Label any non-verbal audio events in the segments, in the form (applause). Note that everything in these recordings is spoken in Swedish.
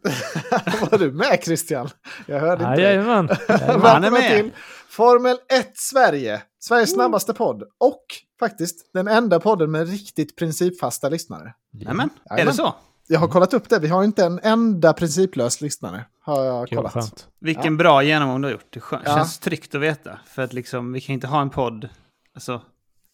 (laughs) Var du med Christian? Jag hörde inte. dig. Jajamän. Han är Välkomna med. till Formel 1 Sverige, Sveriges snabbaste podd och faktiskt den enda podden med riktigt principfasta lyssnare. Nämen, är det Jajamän. så? Jag har kollat upp det, vi har inte en enda principlös lyssnare. Har jag Kul, kollat. skönt. Vilken bra genomgång du har gjort. Det skö- Ja. känns tryggt att veta. För att liksom, vi kan inte ha en podd, alltså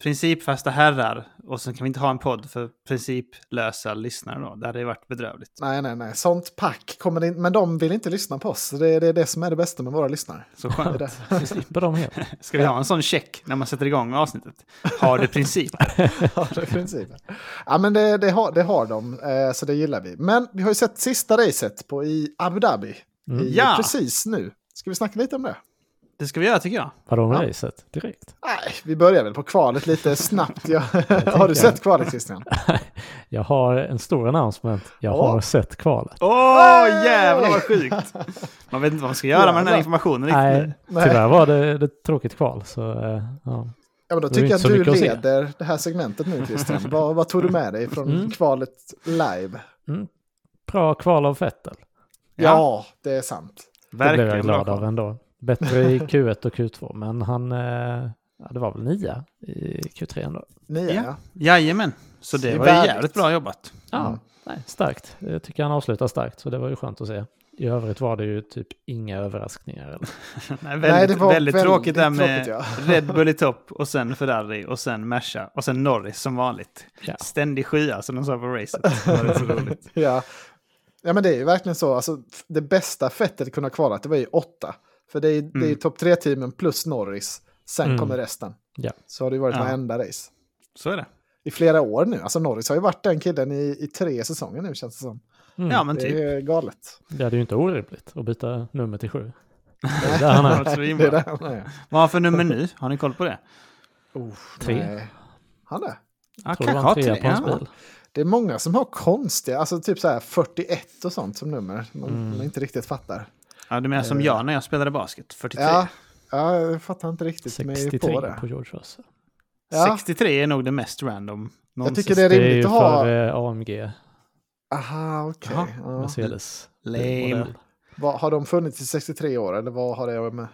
principfasta herrar, och sen kan vi inte ha en podd för principlösa lyssnare då. Det hade ju varit bedrövligt. Nej, nej, nej. Sånt pack kommer det in, men de vill inte lyssna på oss. Så det, det är det som är det bästa med våra lyssnare. Så Det är skönt. det. Slipper de helt. (laughs) Ska vi ha en sån check när man sätter igång med avsnittet? Har du principer? (laughs) Ja, det är principen. Ja, men det, det, har, det har de, eh, så det gillar vi. Men vi har ju sett sista racet på, i Abu Dhabi. Mm. I, Ja. Precis nu. Ska vi snacka lite om det? Det ska vi göra tycker jag. Vadå om Ja. racet? Direkt? Nej, vi börjar väl på kvalet lite snabbt. (laughs) (laughs) Jag, har tänker- du sett kvalet Christian? Jag har en stor announcement. Jag Ja. har sett kvalet. Åh, jävlar vad sjukt! Man vet inte vad man ska göra med den här Jävlar. informationen riktigt nu. Nej, Nej. tyvärr var det, det ett tråkigt kval. Så, eh, ja. Ja, men då Det är tycker inte jag att så du mycket att se. leder det här segmentet nu Christian. vad, vad tog du med dig från Mm. kvalet live? Bra kval av Vettel. Ja. det är sant. Det blev Verkligen jag glad bra. av ändå. Bättre i Q1 och Q2, men han... Eh, ja, det var väl nia i Q3 ändå. Nia, Ja. ja. Jajamän, så Det det är var ju värdigt. jävligt bra jobbat. Ja, Mm. nej, starkt. Jag tycker han avslutar starkt, så det var ju skönt att se. I övrigt var det ju typ inga överraskningar. Eller? Nej, Nej, väldigt, det var väldigt tråkigt där väldigt med tråkigt, Red Bull i topp och sen Ferrari och sen Merca och sen Norris som vanligt. Ja. Ständig skya som de sa på racet. Det var rätt så roligt. (laughs) Ja. ja, men det är ju verkligen så. Alltså, f- det bästa Fettel kunde ha kvalat, det var ju åtta. För det är, det är ju topp tre-teamen plus Norris. Sen Mm. kommer resten. Ja. Så har det ju varit Ja. varenda race. Så är det. I flera år nu. Alltså Norris har ju varit den killen i, i tre säsonger nu känns det som. Mm. Ja, men Det typ. är galet. Det är ju inte orimligt att byta nummer till sju. Det är där han Det är. var så Det är himla. där han är. Vad har han för nummer nu? Har ni koll på det? Oh, Tre. nej. Han är. Ja, Tror kanske det var har en trea Ah, tre. på hans Ja. bil. Det är många som har konstiga, alltså typ så här 41 och sånt som nummer. Man, Mm. man inte riktigt fattar. Ja, du menar som jag när jag spelade basket, 43. Ja, ja, jag fattar inte riktigt mig 63 på på, det. George Russell. Ja, 63 är nog det mest random jag någonsin. tycker det är Det är ju rimligt att ha. för eh, AMG, Aha, okej. Jaha, Ja. Mercedes. Lame. modell. Vad, har de funnits i 63 år eller vad har det med?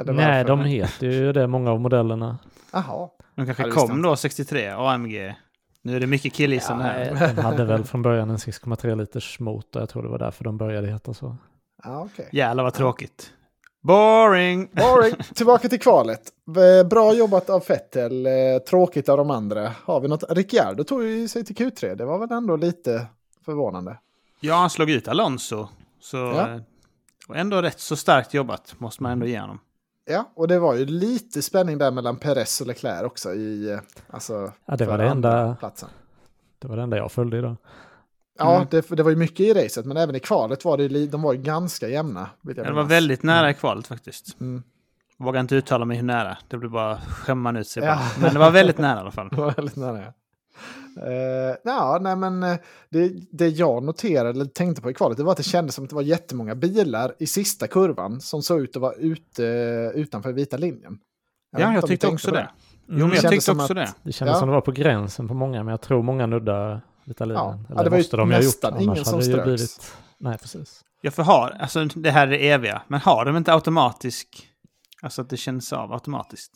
Eller Nej, varför? de heter ju det, många av modellerna. Jaha. De kanske Ja, det visste jag kom då, 63, AMG. Nu är det mycket killgissande här. Nej, de hade väl från början en 6,3 liters motor. Jag tror det var därför de började heta så. Ja, okej. Jävlar vad tråkigt. Boring! Boring. Tillbaka till kvalet. V- Bra jobbat av Fettel, eh, tråkigt av de andra. Har vi något? Ricciardo tog ju sig till Q3, det var väl ändå lite förvånande. Ja, han slog ut Alonso. Så, Ja. eh, Och ändå rätt så starkt jobbat, måste man ändå ge honom. Ja, och det var ju lite spänning där mellan Perez och Leclerc också i... eh, Alltså, Ja, det var för det andra enda- Platsen. Det var det enda jag följde idag. Ja, Mm. det, det var ju mycket i racet, men även i kvalet var det, li- de var ju ganska jämna. vill jag Det var minnas. väldigt nära i kvalet faktiskt. Mm. Vågar inte uttala mig hur nära. Det blir bara skämman ut sig. Ja. Bara. Men det var väldigt nära i alla (laughs) fall. Det var väldigt nära. ja. Eh, ja, nej men eh, det, det jag noterade eller tänkte på i kvalet det var att det kändes som att det var jättemånga bilar i sista kurvan som såg ut att vara ute, utanför vita linjen. vet Ja, inte jag om ni tyckte tänkte också på det. Jo, Mm. men jag Kändes tyckte som också att- det. Det kändes Ja. som det var på gränsen på många, men jag tror många nuddar vita linjen. Ja, Eller det var ju måste de ju ha gjort, nästan annars ingen hade som det ju ströks. blivit... Nej, precis. Jag förhar, alltså det här är det eviga. Men har de inte automatisk... Alltså att det känns av automatiskt.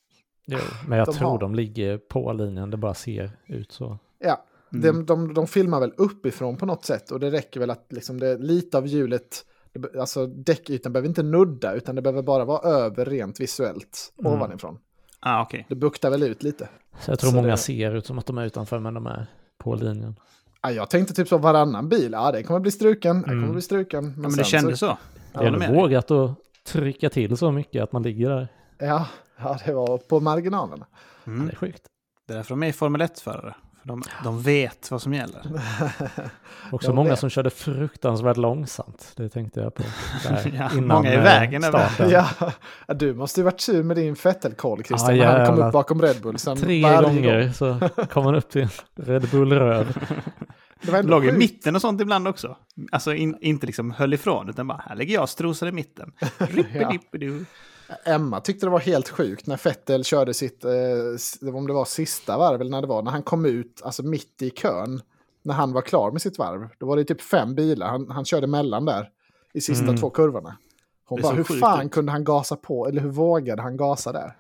Jo, men jag De tror har- de ligger på linjen, det bara ser ut så. Ja, Mm. de, de, de filmar väl uppifrån på något sätt och det räcker väl att liksom det, lite av hjulet, det be- alltså däckytan behöver inte nudda utan det behöver bara vara över rent visuellt Mm. ovanifrån. Ah, okej. Det buktar väl ut lite. Så jag tror Så många det- ser ut som att de är utanför, men de är på linjen. Ja, jag tänkte typ så varannan bil, ja det kommer bli struken, det kommer Mm. bli struken. Men, Ja, men sen det så- kändes så. Det är håller nog med dig. vågat att trycka till så mycket att man ligger där. Ja, ja, det var på marginalerna. Det Mm. är sjukt. Det är därför de är Formel 1-förare. För de, de vet vad som gäller. Också Jag många vet. som körde fruktansvärt långsamt. Det tänkte jag på. (laughs) Där, Ja, innan många i eh, vägen över- starten. Ja, du måste ju varit sur med din Fettel-koll, Christian, Ja, när han kom jävlar. upp bakom Red Bull. Sen Tre varje gånger gång. så kom man upp till Red Bull röd. Det var ändå Låg i sjukt. mitten och sånt ibland också. Alltså in, inte liksom höll ifrån, utan bara här ligger jag och strosar i (laughs) mitten. Rippidippidu. Emma tyckte det var helt sjukt när Fettel körde sitt, eh, s- om det var sista varv eller när det var, när han kom ut, alltså mitt i kön. när han var klar med sitt varv. Då var det typ fem bilar han, han körde mellan där i sista Mm. två kurvorna. Hon Det bara, såg hur sjukt fan ut." kunde han gasa på? Eller hur vågade han gasa där?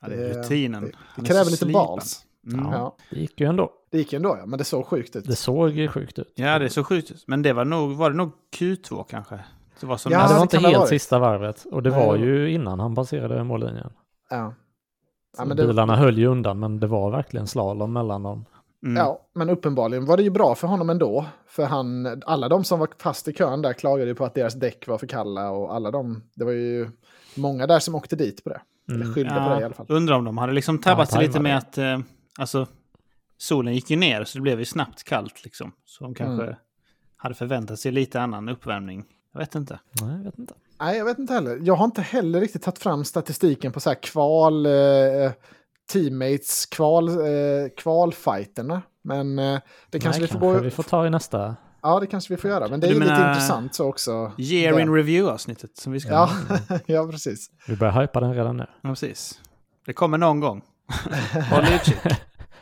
Ja, det är Eh, rutinen. Det Han är så kräver lite slipad. bals. Mm. Ja. Ja. Det gick ju ändå. Det gick ändå, ja, men det såg sjukt ut. Det såg ju sjukt ut. det är så sjukt. ut. Men det var nog, var det nog Q2 kanske? Det var som Ja, Men det det var näst- inte kan det ha helt varit. sista varvet. Och det Nej, var det var- ju innan han passerade mållinjen. Ja. Ja, Så men det, Bilarna höll ju undan, men det var verkligen slalom mellan dem. mm. Ja, men uppenbarligen var det ju bra för honom ändå. För han, alla de som var fast i kön där klagade ju på att deras däck var för kalla och alla de, det var ju många där som åkte dit på det. Eller Mm. skyllde på det i alla fall. Undrar om de hade liksom tabbat Ja, sig lite med tajmade. att eh, alltså, solen gick ju ner så det blev ju snabbt kallt liksom. Så de kanske Mm. hade förväntat sig lite annan uppvärmning. Jag vet inte. Nej, jag vet inte. Nej, jag vet inte heller. Jag har inte heller riktigt tagit fram statistiken på så här kval, eh, teammates, kval, eh, kvalfighterna. Men eh, det kanske Nej, vi får gå... vi får ta i nästa. Ja, det kanske vi får göra. Men det är Du ju lite menar- intressant så också. Year Det- in review-avsnittet som vi ska Ja, ja, (laughs) precis. Vi börjar hypa den redan nu. Ja, precis. Det kommer någon (laughs) gång. Håll utkik.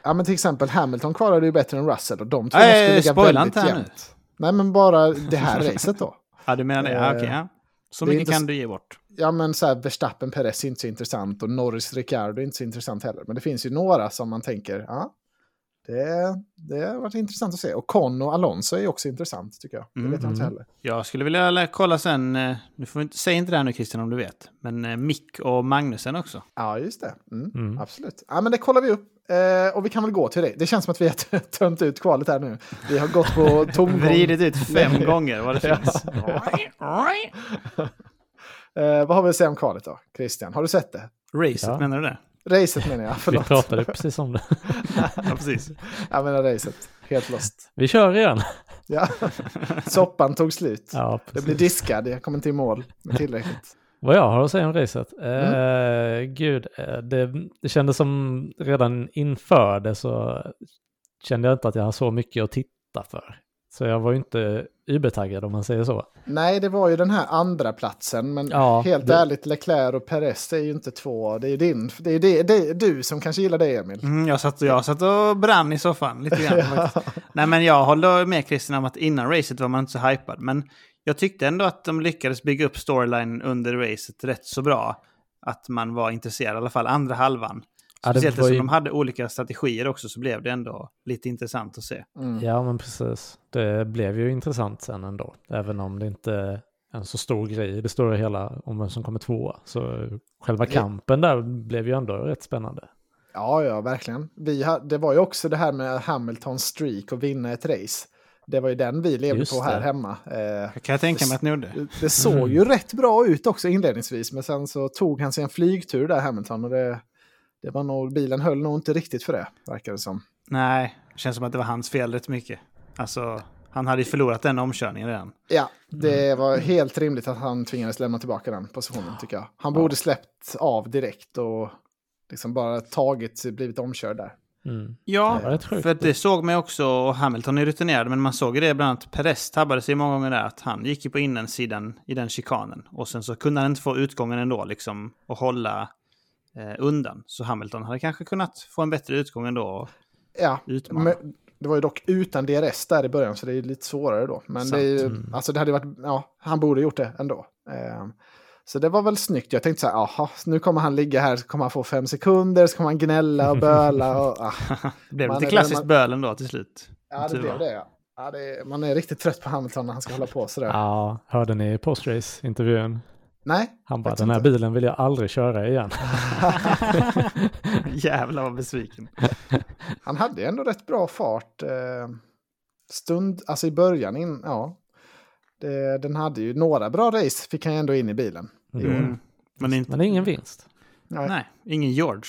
Ja, men till exempel Hamilton kvalade ju bättre än Russell och de två måste ju Nej, ligga spoila väldigt inte här nu. jämnt. Nej, men bara det här racet då. Ja, du menar det? Ja, Eh, okej. Ja. Så det är mycket inte s- kan du ge bort. Ja, men så här, Verstappen, Perez är inte så intressant och Norris, Ricciardo är inte så intressant heller. Men det finns ju några som man tänker, ja, det, det har varit intressant att se. Och Con och Alonso är ju också intressant tycker jag. Det Mm. vet jag inte heller. Jag skulle vilja lä- kolla sen, eh, nu får vi inte, säg inte det här nu Christian om du vet, men eh, Mick och Magnusen också. Ja, just det. Mm, Mm. Absolut. Ja, men det kollar vi upp. Eh, och vi kan väl gå till det. Det känns som att vi har (laughs) tömt ut kvalet här nu. Vi har gått på tomgång. Vridit ut (laughs) fem gånger vad det finns. Eh, vad har vi att säga om kvalet då, Christian? Har du sett det? Racet, Ja. menar du det? Racet menar jag, (laughs) Vi förlåt. pratade precis om det. Ja, precis. Jag menar racet, helt lost. Vi (laughs) kör igen. Ja. Soppan tog slut. Ja, Det precis. blir diskad, jag kommer inte i mål med tillräckligt. Vad jag har att säga om racet? Eh, gud, eh, det, det kändes som redan inför det så kände jag inte att jag hade så mycket att titta för. Så jag var ju inte übertaggad om man säger så. Nej, det var ju den här andra platsen men Ja, helt det- ärligt, Leclerc och Perez är ju inte två. Det är ju din, det är, det, det är du som kanske gillar det, Emil. Mm, jag, satt, jag satt och brann i soffan lite grann. (laughs) faktiskt. Nej, men jag håller med Christian om att innan racet var man inte så hypad. Men jag tyckte ändå att de lyckades bygga upp storylinen under racet rätt så bra. Att man var intresserad, i alla fall andra halvan. Ja, det Speciellt var eftersom ju- de hade olika strategier också så blev det ändå lite intressant att se. Mm. Ja, men precis. Det blev ju intressant sen ändå. Även om det inte är en så stor grej i det stora hela om vem som kommer tvåa. Så själva Ja. kampen där blev ju ändå rätt spännande. Ja, ja, verkligen. Vi ha, det var ju också det här med Hamiltons streak och vinna ett race. Det var ju den vi levde Just på här det. hemma. Eh, Jag kan jag tänka mig att ni gjorde. Det- Det såg ju rätt bra ut också inledningsvis, men sen så tog han sig en flygtur där Hamilton och det, det var nog, bilen höll nog inte riktigt för det, verkar det som. Nej, det känns som att det var hans fel rätt mycket. Alltså, han hade ju förlorat den omkörningen redan. Ja, det var helt rimligt att han tvingades lämna tillbaka den positionen tycker jag. Han borde släppt av direkt och liksom bara tagit, blivit omkörd där. Mm. Ja, Det var rätt sjukt. för att det såg man ju också, och Hamilton är rutinerad, men man såg ju det bland annat, Perez tabbade sig många gånger där, att han gick ju på innansidan i den chikanen. Och sen så kunde han inte få utgången ändå liksom, och hålla eh, undan. Så Hamilton hade kanske kunnat få en bättre utgång ändå och Ja, utmana. men det var ju dock utan DRS där i början så det är ju lite svårare då. Men det är ju, alltså det hade varit, ja, han borde gjort det ändå. Ehm, så det var väl snyggt. Jag tänkte så här, aha, nu kommer han ligga här, så kommer han få fem sekunder, så kommer han gnälla och böla. Och, ah. det blev man lite är- klassiskt man- böl ändå till slut. Ja, det Tur blev var. det ja. ja det, man är riktigt trött på Hamilton när han ska hålla på sådär. Ja, hörde ni postrace-intervjun? Nej, Han bara, Vet den här inte. bilen vill jag aldrig köra igen. (laughs) Jävlar vad besviken. han hade ju ändå rätt bra fart. Eh, stund, alltså i början, in, ja. Det, den hade ju några bra race, fick han ju ändå in i bilen. i år. Mm. Men inte... Men ingen vinst. Nej, ingen George.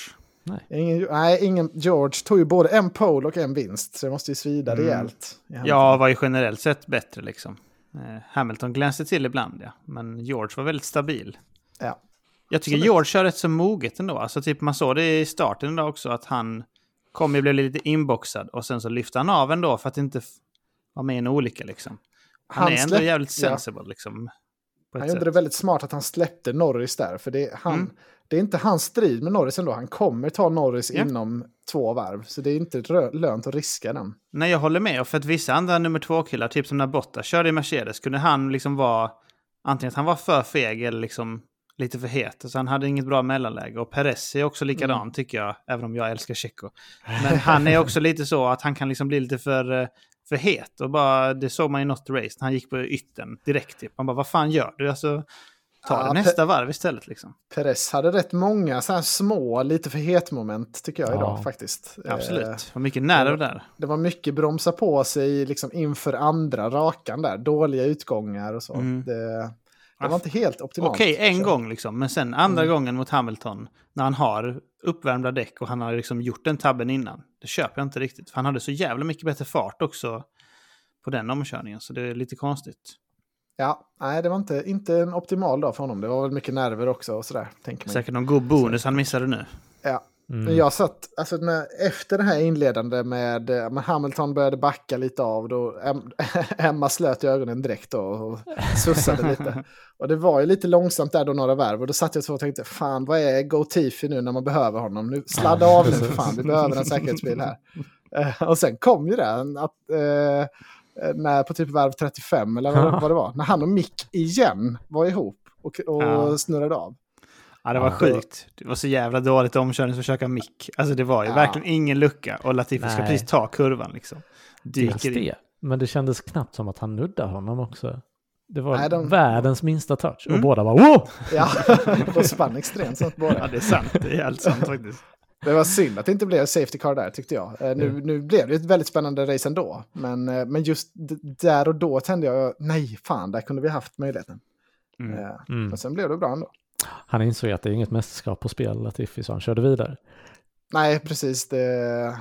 Ingen, nej, ingen, George tog ju både en pole och en vinst, så det måste ju svida Mm. rejält. i handen. Ja, var ju generellt sett bättre liksom. Eh, Hamilton glänste till ibland, ja. Men George var väldigt stabil. Ja. Jag tycker Absolut. George kör rätt så moget ändå. Alltså, typ, man såg det i starten ändå också, att han kom ju blev lite inboxad och sen så lyfte han av ändå för att inte f- vara med i en olycka liksom. Han, Han är ändå släpp- jävligt ja. sensible liksom. På Han ett gjorde sätt. det väldigt smart att han släppte Norris där, för det, han, Mm. det är inte hans strid med Norris ändå. Han kommer ta Norris Ja. inom två varv. Så det är inte rö- lönt att riska den. Nej, jag håller med. För att vissa andra nummer två-killar, typ som när Bottas körde i Mercedes, kunde han liksom vara... Antingen att han var för feg eller liksom lite för het. Så han hade inget bra mellanläge. Och Perez är Mm. också likadan, tycker jag. Även om jag älskar Checo. Men han är också lite så att han kan liksom bli lite för, eh, för het. Och bara, det såg man i något race när han gick på ytten direkt. Typ. Man bara, vad fan gör du? Alltså, ta Ja, det Pe- nästa varv istället liksom. Perez hade rätt många så här små, lite för het-moment tycker jag Ja. idag faktiskt. Eh, Absolut. Var mycket nära där. Det var mycket bromsa på sig liksom inför andra rakan där. Dåliga utgångar och så. Mm. Ah. Det, det var inte helt optimalt. Okej, en Så- Mm. gång liksom. Men sen andra gången mot Hamilton, när han har uppvärmda däck och han har liksom gjort den tabben innan. Det köper jag inte riktigt. För han hade så jävla mycket bättre fart också på den omkörningen. Så det är lite konstigt. Ja, nej, det var inte, inte en optimal dag för honom. Det var väl mycket nerver också och sådär. Tänker man. Säkert någon god bonus han missade nu. Ja. Mm. Men jag satt, alltså när, efter det här inledande med, eh, men Hamilton började backa lite av, då Em- (laughs) Emma slöt i ögonen direkt då och sussade lite. Och det var ju lite långsamt där då några varv och då satt jag så och tänkte, fan vad är Go-Tifi nu när man behöver honom? Nu sladda av nu för fan, vi behöver en säkerhetsbil här. Eh, Och sen kom ju den, att, eh, när, på typ varv 35 eller vad, vad det var, när han och Mick igen var ihop och, och Ja. snurrade av. Ja, det var Ja. sjukt. Det var så jävla dåligt omkörningsförsök av Mick. Alltså det var ju Ja. verkligen ingen lucka. Och Latifi ska Nej. precis ta kurvan liksom. Dels Dyker in. Mm. det. Men det kändes knappt som att han nuddar honom också. Det var Nej, de- världens minsta touch. Mm. Och båda var wow! Ja, (laughs) de spann extremt snabbt båda. Ja, det är sant. Det är helt sant faktiskt. Det var synd att det inte blev safety car där tyckte jag. Eh, Nu, nu blev det ett väldigt spännande race ändå. Men, eh, men just d- där och då tände jag, nej fan, där kunde vi haft möjligheten. Mm. Eh, Mm. Men sen blev det bra ändå. Han insåg att det är inget mästerskap på spel, Latifi, så han körde vidare. Nej, precis. Det,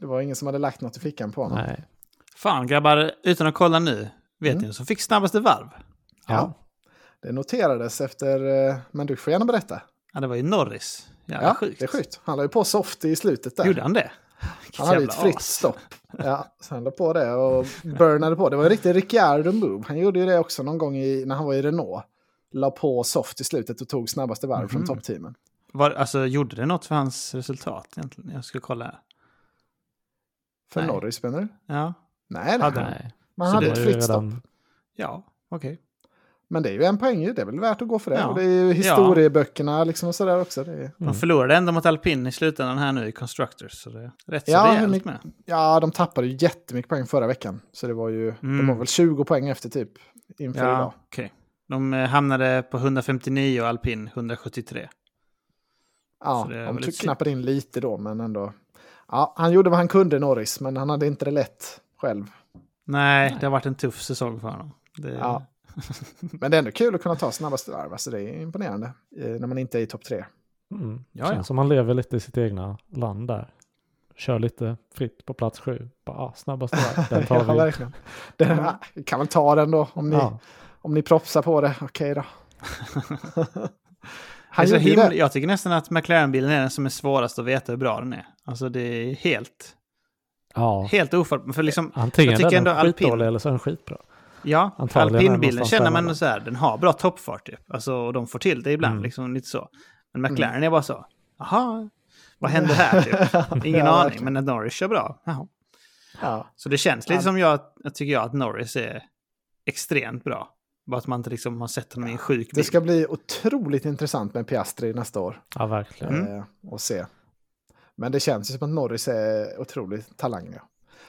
det var ingen som hade lagt något i fickan på honom. Nej. Fan grabbar, utan att kolla nu. Vet Mm. ni vem som fick snabbaste varv? Ja. Det noterades efter, eh, men du får gärna berätta. Ja, det var ju Norris. Jävla Ja, sjukt. det är sjukt. Han la ju på soft i slutet där. Gjorde han det? Vilket Han hade ju jävla ett fritt as. stopp. Ja, så han la på det och burnade på. Det var en riktig Ricciardo-move. Han gjorde ju det också någon gång i, när han var i Renault. La på soft i slutet och tog snabbaste varv från Mhm. toppteamen. Var, alltså, gjorde det något för hans resultat egentligen? Jag ska kolla här. För Nej. Norris menar du? Ja, Nej, nej. Hade han? Nej. Man Så hade det ett var ju fritt stopp. redan- ja okej. Men det är ju en poäng ju. Det är väl värt att gå för det. Ja. Och det är ju historieböckerna liksom och sådär också. Det är... De förlorade ändå mot Alpin i slutändan här nu i Constructors. Så det är rätt så Ja, hur rejält mycket- med. Ja, de tappade ju jättemycket poäng förra veckan. Så det var ju, Mm. de var väl 20 poäng efter typ inför idag. Ja, okej. De eh, hamnade på 159 och Alpin 173. Ja, Så det är de väl tog- lite synd. knappade in lite då, men ändå. Ja, han gjorde vad han kunde, Norris, men han hade inte det lätt själv. Nej, det har varit en tuff säsong för honom. Det, Ja. Men det är ändå kul att kunna ta snabbaste varv, alltså det är imponerande eh, när man inte är i topp tre. Mm. Ja, Känns ja. som han lever lite i sitt egna land där. Kör lite fritt på plats sju. Bara, ah, snabbast (laughs) där. Den ja, tar vi. verkligen. Den, ah, vi kan väl ta den då, om ni, Ja. om ni propsar på det. (laughs) Okej då. Det är han så gjorde ju himla, det. jag tycker nästan att McLaren-bilen är den som är svårast att veta hur bra den är. Alltså det är helt, ja. helt ofattbart. För liksom, Antingen Jag tycker är ändå den alpin- skitdålig eller så är den skitbra. Ja, Antagligen är det alpinbilen någonstans känner man däremellan. ändå så här, den har bra toppfart typ. Alltså, och de får till det ibland, Mm. liksom lite så. Men Mm. McLaren är bara så, jaha, vad händer här (laughs) (laughs) typ? Ingen Ja, aning, verkligen. men att Norris kör bra, jaha. Ja. Så det känns Ja. lite som jag, jag tycker jag, att Norris är extremt bra. Bara att man inte liksom har sett honom i en sjuk Det bil. ska bli otroligt intressant med Piastri nästa år. Ja, verkligen. Mm. eh, och se. Men det känns ju som att Norris är otroligt talang. Ja.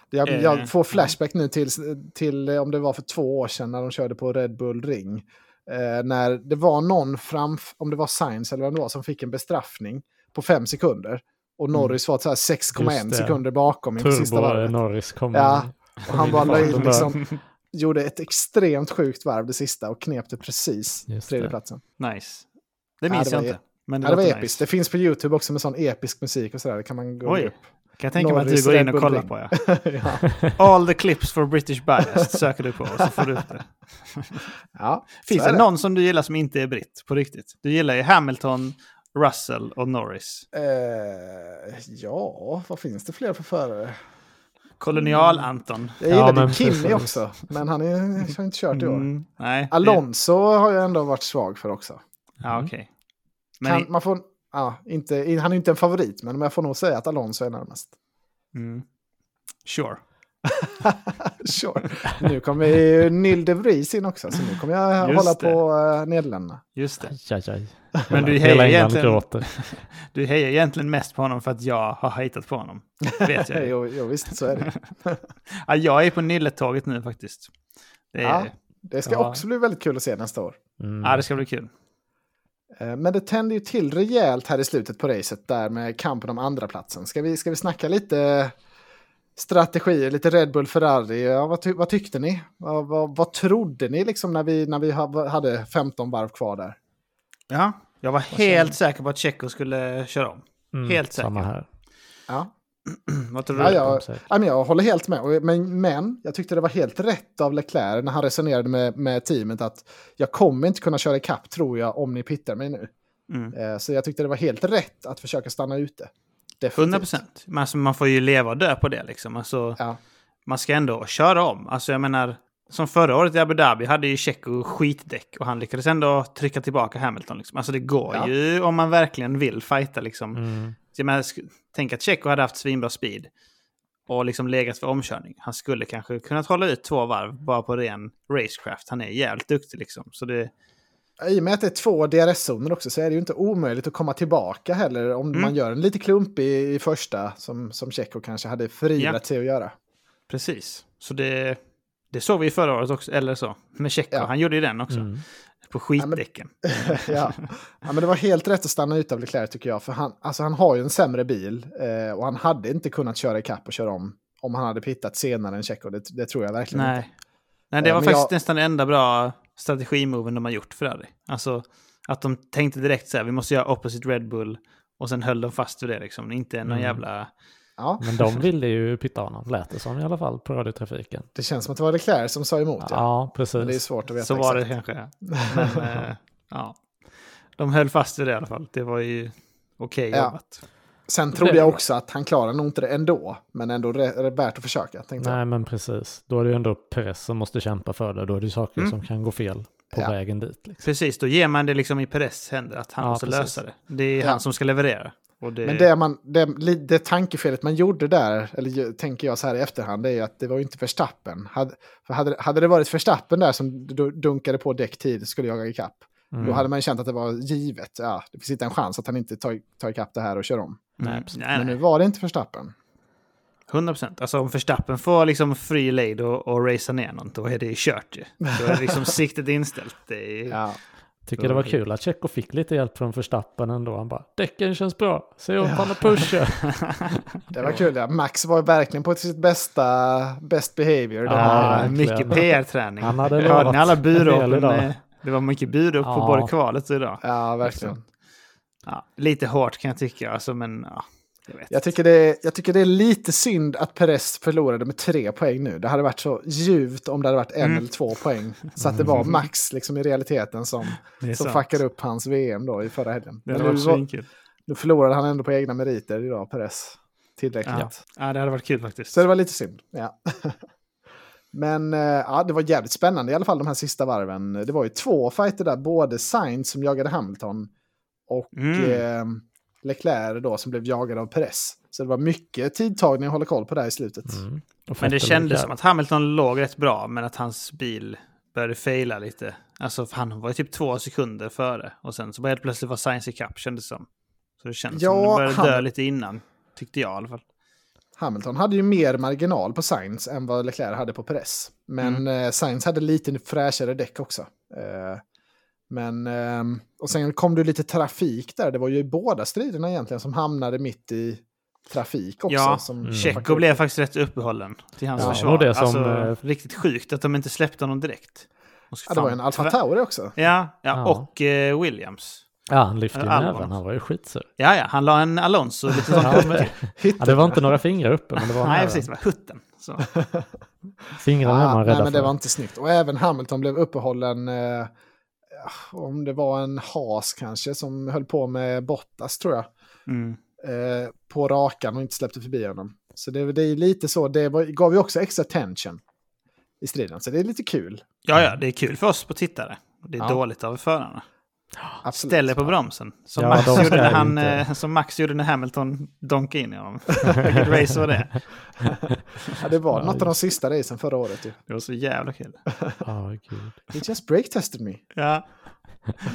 Jag, Eh, jag får flashback nu till, till eh, om det var för två år sedan när de körde på Red Bull Ring. Eh, när det var någon framf, om det var Sainz eller vem det var, som fick en bestraffning på fem sekunder. Och Norris var så här 6,1 Mm. Just det. sekunder bakom i sista Turbo varvet. Norris kommer. Ja, och han bara la (laughs) in Bara- liksom, gjorde ett extremt sjukt varv det sista och knep det precis, Just det. tredjeplatsen. Nice. Det Ja, minns det var jag inte. ep- Men det, Ja, det var låter episkt. nice. Det finns på YouTube också med sån episk musik och sådär. Det kan man gå Oj, upp. kan jag tänka mig att du Norris går in Red och Bull kollar Ring. på. Ja. ja. All the clips for British bias söker du på och så får du upp (laughs) det. Ja, (laughs) Finns så är det någon som du gillar som inte är britt på riktigt? Du gillar ju Hamilton, Russell och Norris. Eh, ja, vad finns det fler för förare? Mm. Kolonial-Anton. Jag Ja, gillade men ju Kimi precis. också, men han är, har inte kört i år. Mm, nej. det- Alonso har jag ändå varit svag för också. Ja, okej. Men Mm. Kan, i- man får, ja, inte, han är inte en favorit, men jag får nog säga att Alonso (laughs) är närmast. Mm. Sure. sure. Nu kommer ju Nil de Vries in också, så nu kommer jag Just hålla det. på uh, Nederländerna. Just det. Aj, aj, aj. Men du Hela hejar, England egentligen, gråter. du hejar egentligen mest på honom för att jag har hejtat på honom. Vet jag. ju. (laughs) Jo, jo, visst, så är det. ja, jag är på Nille-tåget nu faktiskt. (laughs) Det, är, Ja. ja. Det ska Ja. också bli väldigt kul att se nästa år. Mm. det ska bli kul. Eh, Men det tände ju till rejält här i slutet på racet där med kampen om andra platsen. Ska vi, ska vi snacka lite strategier, lite Red Bull Ferrari? Ja, vad, ty- vad tyckte ni? Vad, vad, vad trodde ni liksom när vi, när vi ha- hade 15 varv kvar där? Ja, jag var helt säker på att Checo skulle köra om. (clears throat) Mm, helt säker. Samma här. Ja, Vad tror du? ja, jag, säkert. ja, men jag håller helt med. Och- Men, men jag tyckte det var helt rätt av Leclerc när han resonerade med, med teamet att jag kommer inte kunna köra ikapp tror jag om ni pittar mig nu. Mm. Eh, Så jag tyckte det var helt rätt att försöka stanna ute. 100 Definitivt. procent. Men alltså, man får ju leva och dö på det liksom. Alltså, Ja. Man ska ändå köra om. Alltså jag menar, som förra året i Abu Dhabi hade ju Checo skitdäck och han lyckades ändå trycka tillbaka Hamilton. Liksom. Alltså det går Ja. ju om man verkligen vill fighta liksom. Mm. Så jag menar, sk- tänk att Checo hade haft svinbra speed och liksom legat för omkörning. Han skulle kanske kunnat hålla ut två varv bara på ren racecraft. Han är jävligt duktig liksom. Så det, I och med att det är två DRS-zoner också så är det ju inte omöjligt att komma tillbaka heller om Mm. man gör en lite klumpig i första som, som Tjecko kanske hade förivrat Ja. sig (laughs) att göra. Precis. Så det, det såg vi ju förra året också, eller så, med Tjecko. Ja. Han gjorde ju den också, Mm. på skitdäcken. ja. ja, men det var helt rätt att stanna ut av Leclerc tycker jag. För han, alltså, han har ju en sämre bil eh, och han hade inte kunnat köra ikapp och köra om om han hade pittat senare än Tjecko. Det, det tror jag verkligen inte. Nej. Nej, det Eh, var men faktiskt jag- nästan den enda bra strategimoven de har gjort för Ferrari. Alltså att de tänkte direkt så här, vi måste göra opposite Red Bull. Och sen höll de fast vid det liksom. Inte någon Mm. jävla... Ja, Men de ville ju pytta honom, lät det som i alla fall, på radiotrafiken. det känns som att det var Leclerc som sa emot. Ja, Ja. Men det är precis. svårt att veta Så var det exakt. (laughs) kanske. Men eh, ja. De höll fast vid det i alla fall. Det var ju okej Ja. jobbat. Sen Det trodde är jag bra. också att han klarar nog inte det ändå. Men ändå re- är det värt att försöka. Tänkte jag. Nej, men precis. Då är det ju ändå Perez som måste kämpa för det. Då är det ju saker Mm. som kan gå fel på Ja. vägen dit. Liksom. Precis, då ger man det liksom i Perez händer att han Ja, måste precis. lösa det. Det är Ja. han som ska leverera. Och det... Men det, man, det, det tankefelet man gjorde där, eller ju- tänker jag så här i efterhand, det är ju att det var ju inte Verstappen. Hade, för hade, hade det varit Verstappen där som du- dunkade på däck tid skulle jaga ikapp, Mm. då hade man ju känt att det var givet. Ja, det finns inte en chans att han inte tar, tar ikapp det här och kör om. Mm. Nej, precis. nej, Men nu nej. var det inte Verstappen. 100 procent. Alltså om Verstappen får liksom free lead och, och racea ner någon, då är det ju kört ju. Då är (laughs) liksom siktet inställt. Det är... Ja, Tycker det var kul att Checo fick lite hjälp från Verstappen ändå. Han bara, däcken känns bra, se åt han att pusha. (laughs) det var kul. Ja. Max var verkligen på sitt bästa best behavior. den Ja, här- Ja, verkligen. mycket PR-träning. Han hade Hörde lovat ni alla en del burop? idag. eh, Det var mycket burop på Ja. både kvalet och idag. ja verkligen. Ja, lite hårt kan jag tycka, alltså, men ja, jag vet. Jag tycker, det, jag tycker det är lite synd att Perez förlorade med tre poäng nu. Det hade varit så ljuvt om det hade varit en Mm. eller två poäng. Så att det var Max liksom, i realiteten som, det är som sant. fuckade upp hans VM då i förra helgen. Det Men hade nu, varit var, svinkul. nu förlorade han ändå på egna meriter idag, Perez. Tillräckligt. Ja. ja, det hade varit kul faktiskt. Så det var lite synd. Ja. (laughs) Men eh, ja, det var jävligt spännande i alla fall de här sista varven. Det var ju två fighter där, både Sainz som jagade Hamilton och Mm. eh, Leclerc då som blev jagad av Perez. Så det var mycket tidtagning att hålla koll på där i slutet. Mm. Och Men det Vettel kändes gick som att Hamilton låg rätt bra, men att hans bil började fejla lite. Alltså, för han var ju typ två sekunder före. Och sen så bara helt plötsligt var Science ikapp, kändes det som. Så det kändes Ja, som att de började han- dö lite innan. Tyckte jag i alla fall. Hamilton hade ju mer marginal på Sainz än vad Leclerc hade på Perez. Men Mm. eh, Sainz hade lite fräschare däck också. Eh, men, ehm, och sen kom det lite trafik där. Det var ju båda striderna egentligen som hamnade mitt i trafik också. Ja, som Mm. som Checo fuckade blev upp. faktiskt rätt uppehållen till hans Ja, det försvar. var det som, alltså, eh, riktigt sjukt att de inte släppte honom direkt. Och så Ja, det var fan, en Alfa tyvärr- Tauri också. Ja, ja, Ja. och eh, Williams. Ja, han lyfte ju Albon. näven, han var (laughs) ju skitsur. Ja, ja, han la en Alonso lite sånt. Ja, men, ja, det var inte några fingrar uppe, men det var Nej, näven. precis, det var hutten. Så. Fingrarna är Ah, man rädda nej, men det för. var inte snyggt. Och även Hamilton blev uppehållen. Eh, om det var en has kanske som höll på med Bottas tror jag. Mm. eh, på rakan och inte släppte förbi honom. Så det, det är lite så, det var, gav ju också extra tension i striden. Så det är lite kul. Ja, ja, det är kul för oss på tittare. Det är Ja. dåligt av förarna. Absolut. Ställer på bromsen. Som, Ja, Max, de ska gjorde när ju han, inte. eh, som Max gjorde när Hamilton donkade in i (laughs) honom. Vilket race var det? Ja, det var något av de sista racen förra året. Ju. Det var så jävla kul. Ja, (laughs) gud. He just brake tested me. Ja.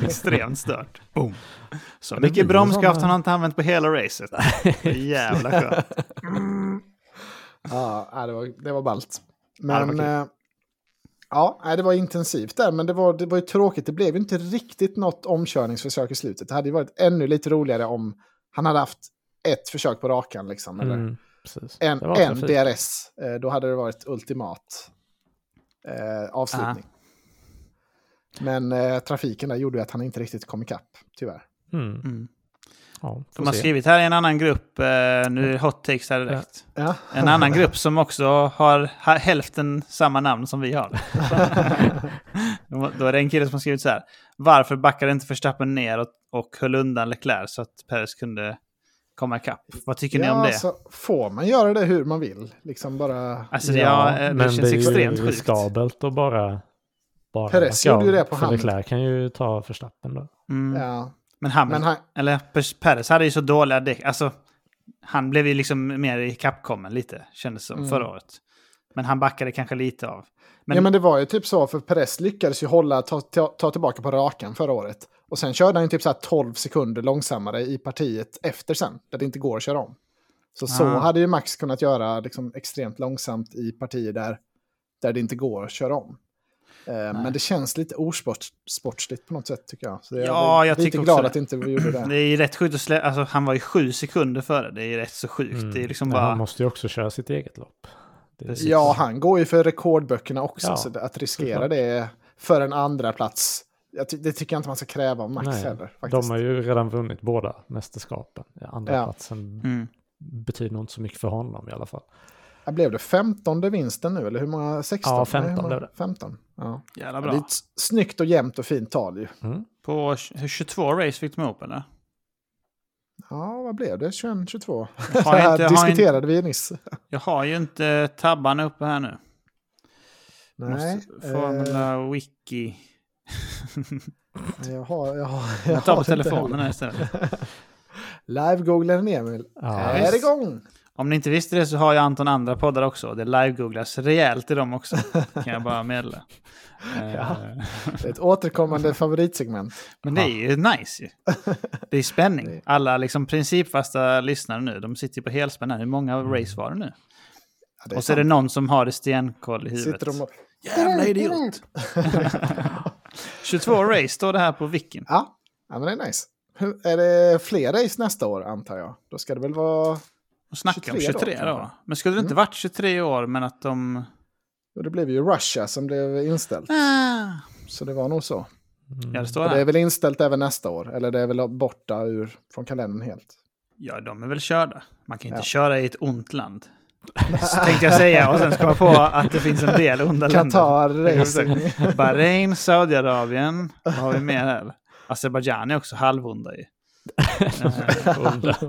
Extremt stört. Boom. Så det mycket blir eh, bromskraft såna- han har inte använt på hela (laughs) racet. Jävla skönt. Ja, nej, det var, det var ballt. Ja, det var Men... kul. eh, Ja, nej, det var intensivt där, men det var, det var ju tråkigt. Det blev ju inte riktigt något omkörningsförsök i slutet. Det hade ju varit ännu lite roligare om han hade haft ett försök på rakan, liksom. Eller Mm, precis. en, Det var en trafik. DRS. Eh, Då hade det varit ultimat eh, Ah. avslutning. Men eh, trafiken där gjorde ju att han inte riktigt kom ikapp, tyvärr. Mm. Mm. Ja, De har får se. skrivit här i en annan grupp, eh, nu är det hot takes här direkt. Ja. En annan grupp som också har ha- hälften samma namn som vi (laughs) har. Då- Då är det en kille som har skrivit så här. Varför backade inte Verstappen ner och, och höll undan Leclerc så att Perez kunde komma ikapp? Vad tycker ni om det? alltså, får man göra det hur man vill? Liksom bara... Alltså, ja, eh, det men känns det är ju extremt sjukt. riskabelt att bara... bara Perez backa gjorde ju av, det på för hand. Leclerc kan ju ta förstappen då. Mm. Ja. Men Hamilton, Men han, eller Per- Perez hade ju så dåliga däck. Alltså, han blev ju liksom mer i kappkommen lite, kändes som, Mm. förra året. Men han backade kanske lite av. Men, Ja, men det var ju typ så, för Perez lyckades ju hålla, ta, ta, ta tillbaka på rakan förra året. Och sen körde han ju typ så här 12 sekunder långsammare i partiet efter sen, där det inte går att köra om. Så så Ah. hade ju Max kunnat göra liksom, extremt långsamt i partier där, där det inte går att köra om. Eh, men det känns lite osportsligt på något sätt tycker jag. Så jag Ja, är jag lite tycker också glad det. att inte vi gjorde (clears throat) det. Det är ju rätt sjukt att slä... alltså, han var ju sju sekunder före. Det är ju rätt så sjukt. Det är liksom Mm. Men bara... Han måste ju också köra sitt eget lopp. Det är Precis. Ja, han går ju för rekordböckerna också, Ja, så det- att riskera det för en andra plats jag ty- det tycker jag inte man ska kräva av Max Nej, heller. Faktiskt. De har ju redan vunnit båda mästerskapen. Andra Ja. platsen Mm. betyder nog inte så mycket för honom i alla fall. Ja, blev det 15 vinsten nu? Eller hur många? 16? Ja, 15 Nej, hur många? blev det. 15. Ja. Jävla Ja, bra. det är ett s- snyggt och jämnt och fint tal ju. På tj- 22 race fick de ihop, eller? (laughs) Ja, vad blev det? 21, 22? Har jag, inte, det har jag, inte, diskuterade vi nyss. jag har ju inte tabban uppe här nu. Nej, Måste, Formula Wiki. eh, jag har, jag har, (laughs) jag Jag tar har på inte telefonen heller. här istället. Live-googlar en Emil. Ja, är visst. det igång? Om ni inte visste det så har jag anton andra poddar också. Det live-googlas rejält i dem (laughs) också. Kan jag bara meddela. Eh, Ja. Det är ett återkommande favoritsegment. Men det är ju nice ju. (laughs) Det är spänning. Alla liksom principfasta lyssnare nu, de sitter ju på helspänn här. Hur många race var det nu? Ja, det Och så är det någon som har det stenkoll i huvudet. Sitter de och... Jävla idiot! 22 race står det här på vicken. Ja, ja, men det är nice. Hur, är det fler race nästa år antar jag? Då ska det väl vara... Och snacka om 23 23 då, Mm. då. kanske. Men skulle det inte varit 23 år, men att de... Jo, Det blev ju Russia som blev inställt. Ah. Så det var nog så. mm. Ja, det står Och det är här. väl inställt även nästa år, eller det är väl borta ur, från kalendern helt. Ja, de är väl körda. Man kan inte Ja. köra i ett ont (laughs) land. Tänkte jag säga och sen ska jag på att det finns en del onda länder. Qatar Racing. Bahrain, Saudiarabien. Vad har vi mer här? Azerbajdzjan är också halvonda (laughs) ju. Eh,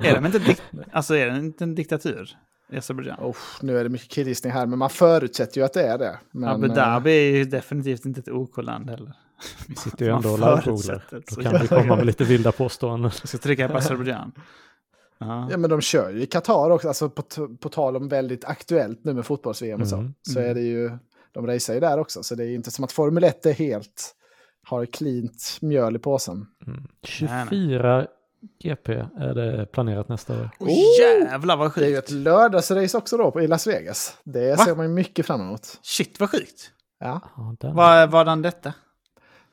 är de inte dik- alltså är det inte en diktatur? i Azerbajdzjan? Uff, nu är det mycket killgissning här, men man förutsätter ju att det är det. Men, Abu eh, Dhabi är ju definitivt inte ett OK-land heller. (laughs) Vi sitter ju Man ändå och live-googlar. förutsätter så Då kan vi jävla komma med gött. lite vilda påståenden. Jag ska (laughs) trycka på Azerbajdzjan. Ja. Ja, men de kör ju i Qatar också, alltså på, t- på tal om väldigt aktuellt nu med fotbolls-VM och så. Mm, Så är det ju, de racear ju där också, så det är ju inte som att Formel 1 är helt, har klint mjöl i påsen. Mm. nej. 24 GP är det planerat nästa år. Oh, jävlar vad Det är ju ett sjukt! lördagsrace också då på, i Las Vegas. Det Va? ser man ju mycket fram emot. Shit vad sjukt! Ja. Ja, den. Vad Vadan detta?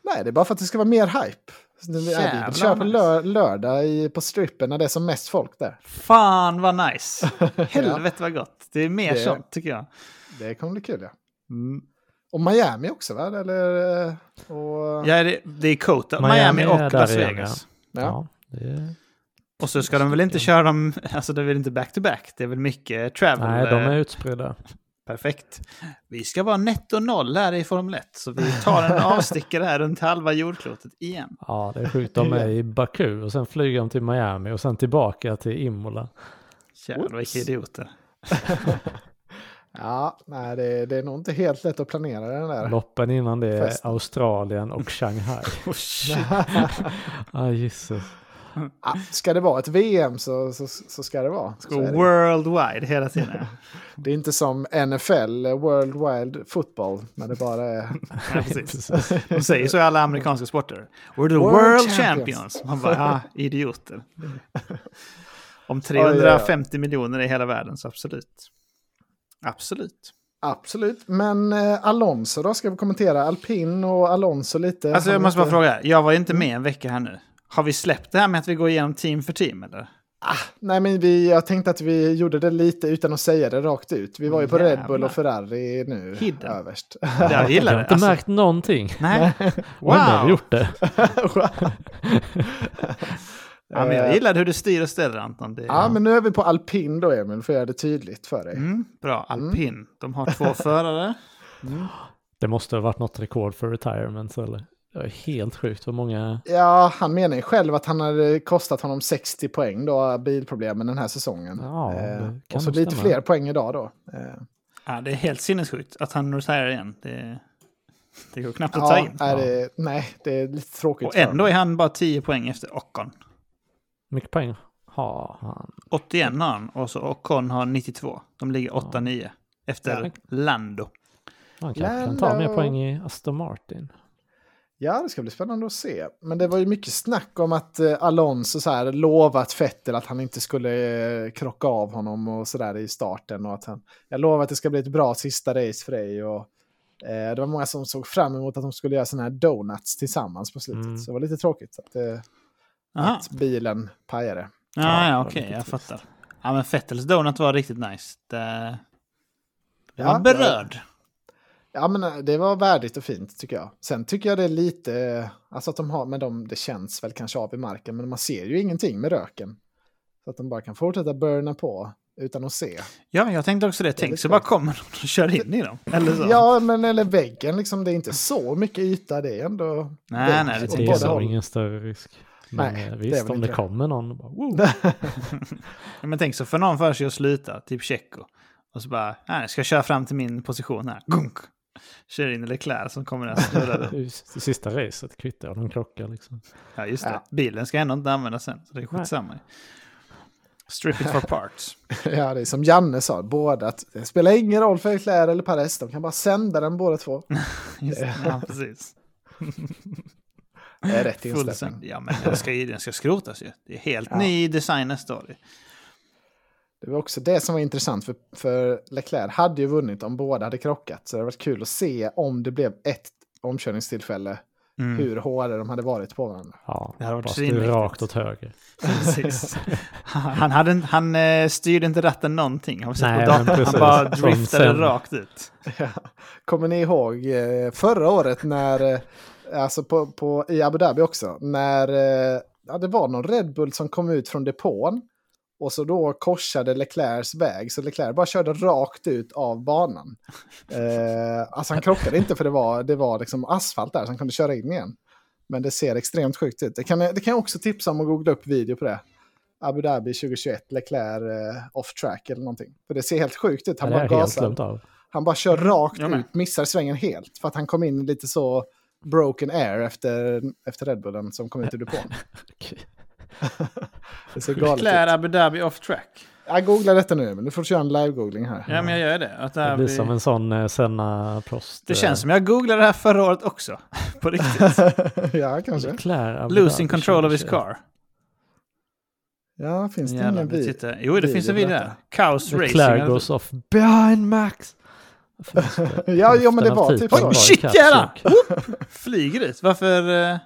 Nej, det är bara för att det ska vara mer hype. Så det- Jävlar, Vi kör på nice. lör lördag i, på strippen när det är som mest folk där. Fan vad nice! (laughs) Helvete vad gott! Det är mer Det- sånt tycker jag. Det kommer bli kul, ja. Mm. Och Miami också, va? Eller... eh, Och, Ja, det, det är Kota, Miami, Miami är och där Las igen, Vegas. ja. Ja, det är... Och så ska de väl inte köra dem, alltså det är väl inte back-to-back, det är väl mycket travel. Nej, de är eh, utspridda. Perfekt. Vi ska vara netto noll här i Formel 1, så vi tar (laughs) en avstickare här runt halva jordklotet igen. Ja, det är (laughs) sjukt. De är i Baku och sen flyger de till Miami och sen tillbaka till Imola. Jävlar vilka idioter. Ja, nej, det, det är nog inte helt lätt att planera den där. Loppen innan det är Fest. (laughs) Australien och Shanghai. Oh, (laughs) shit. ah, Jesus. Ah, ska det vara ett VM så, så, så ska det vara. Så är det. Worldwide hela tiden. det är inte som NFL, eh, World Wild Football, när det (laughs) bara är... Ja, precis. De säger så i alla amerikanska sporter. We're the World world, champions. champions. Man bara, ah, idioter. Om ja, ja. 350 miljoner i hela världen, så absolut. Absolut. Absolut, men eh, Alonso då? Ska vi kommentera Alpin och Alonso lite? Alltså jag Han måste bara inte- fråga, jag var ju inte med en vecka här nu. Har vi släppt det här med att vi går igenom team för team eller? Nej, men vi, jag tänkte att vi gjorde det lite utan att säga det rakt ut. Vi var ju på Red Bull Jävlar. och Ferrari nu Hidden. överst. (laughs) Jag (laughs) Jag gillar har det. inte Alltså, märkt någonting. nej. Wow. Har vi Wow! gjort det? Ja, men jag gillade hur du styr och ställer Anton. Det, Ja, men nu är vi på Alpin då, Emil, för att göra det tydligt för dig. mm, bra, alpin. De har två förare. Det måste ha varit något rekord för retirement eller? Det är helt sjukt hur många... Ja, han menar ju själv att han hade kostat honom 60 poäng då, bilproblemen den här säsongen. Ja, det eh, kan och så nog lite stämma. fler poäng idag då. Eh, Ja, det är helt sinnessjukt att han retirar igen. Det, det går knappt att ta ja, in. är det, nej, det är lite tråkigt. Och för ändå honom. är han bara 10 poäng efter Ocon. mycket poäng har han? 81 har han och så Ocon har 92. De ligger 8-9 efter Lando. Han kanske kan ta mer poäng i Aston Martin. Ja, det ska bli spännande att se. Men det var ju mycket snack om att eh, Alonso så här lovat Vettel att han inte skulle eh, krocka av honom och så där i starten. Och att han, jag lovar att det ska bli ett bra sista race för dig. Och, eh, det var många som såg fram emot att de skulle göra sådana här donuts tillsammans på slutet. Mm. Så det var lite tråkigt att, eh, Aha. att bilen pajade. Ja, det ja var Ah, okej, lite jag trist. fattar. Ja, men Fettels donut var riktigt nice. Det, det Ja, var berörd. Ja, men eh, det var värdigt och fint tycker jag. Sen tycker jag det är lite, eh, alltså att de har, men de, det känns väl kanske av i marken, men man ser ju ingenting med röken. Så att de bara kan fortsätta burna på utan att se. Ja, jag tänkte också det. Väldigt Tänk så bra. bara kommer någon och kör in i dem. Eller så. Ja, men eller väggen, liksom, det är inte så mycket yta, det är ändå... Nej, vägg nej, det åt Det båda är så håll. ingen större risk. Men E Nej, Nej, det är visst, väl om inte det det. kommer någon och bara (laughs) wow. Ja, (laughs) Men tänk så för någon för sig att sluta, typ Tjecko. Och så bara, nej, jag ska köra fram till min position här. Gunk! Kör in i Leclerc som kommer att snurra Det är runt. ju s- det sista racet kvittar jag någon klocka liksom. Ja, just det. Ja. Bilen ska ändå inte användas sen, så det är skitsamma. Strip it for (laughs) parts. Ja, det är som Janne sa, båda. Att det spelar ingen roll för Leclerc eller Perez, de kan bara sända den (laughs) båda två. Just det. Ja, precis. Det är rätt Full sen. inställning. Ja, men den ska, ju- den ska skrotas ju. Det är helt Ja. ny design nästa år. Det var också det som var intressant, för, för Leclerc hade ju vunnit om båda hade krockat. Så det hade varit kul att se om det blev ett omkörningstillfälle, Mm. hur hårda de hade varit på varandra. Ja, Det hade varit bara styr svinmäktigt. rakt åt höger. (laughs) Precis. Han, hade, en- han eh, styrde inte ratten någonting. Har vi sett Nej, på datorn? men Han precis. bara Som driftade sen. rakt ut. Ja. Kommer ni ihåg eh, förra året när, eh, alltså på, på, i Abu Dhabi också, när eh, ja, det var någon Red Bull som kom ut från depån och så då korsade Leclercs väg, så Leclerc bara körde rakt ut av (laughs) banan. Eh, alltså han krockade inte för det var, det var liksom asfalt där så han kunde köra in igen. Men det ser extremt sjukt ut. Det kan, det kan jag också tipsa om att googla upp video på det. Abu Dhabi 2021, Leclerc eh, off track eller någonting. För det ser helt sjukt ut. Ja, Han det har bara jag helt gasar. glömt av. Han bara kör rakt jag med. ut, missar svängen helt. För att han kom in lite så broken air efter, efter Red Bullen som kom ut ur depån. Okej. (laughs) Det ser galet Leclerc ut. Abu Dhabi off track. Jag googlar detta nu, men du får köra en live-googling här. Ja, men jag gör det. Att Det här blir blir- som en sån eh, Senna Prost. Det eh, känns som jag googlade det här förra året också. (laughs) På (laughs) riktigt. (laughs) ja, kanske. Leclerc, Abu Losing Dhabi control of his 2021. car. Ja, finns det Jävlar, ingen nu vid? tittar jag. Jo, det video finns en på video detta? där. Kaos Leclerc Racing. goes off behind Max. (laughs) (laughs) Ja, jo, men det Hälften av var typ titeln så. var i Shit, Catch jävlar! Lock. Flyger ut. Varför... eh,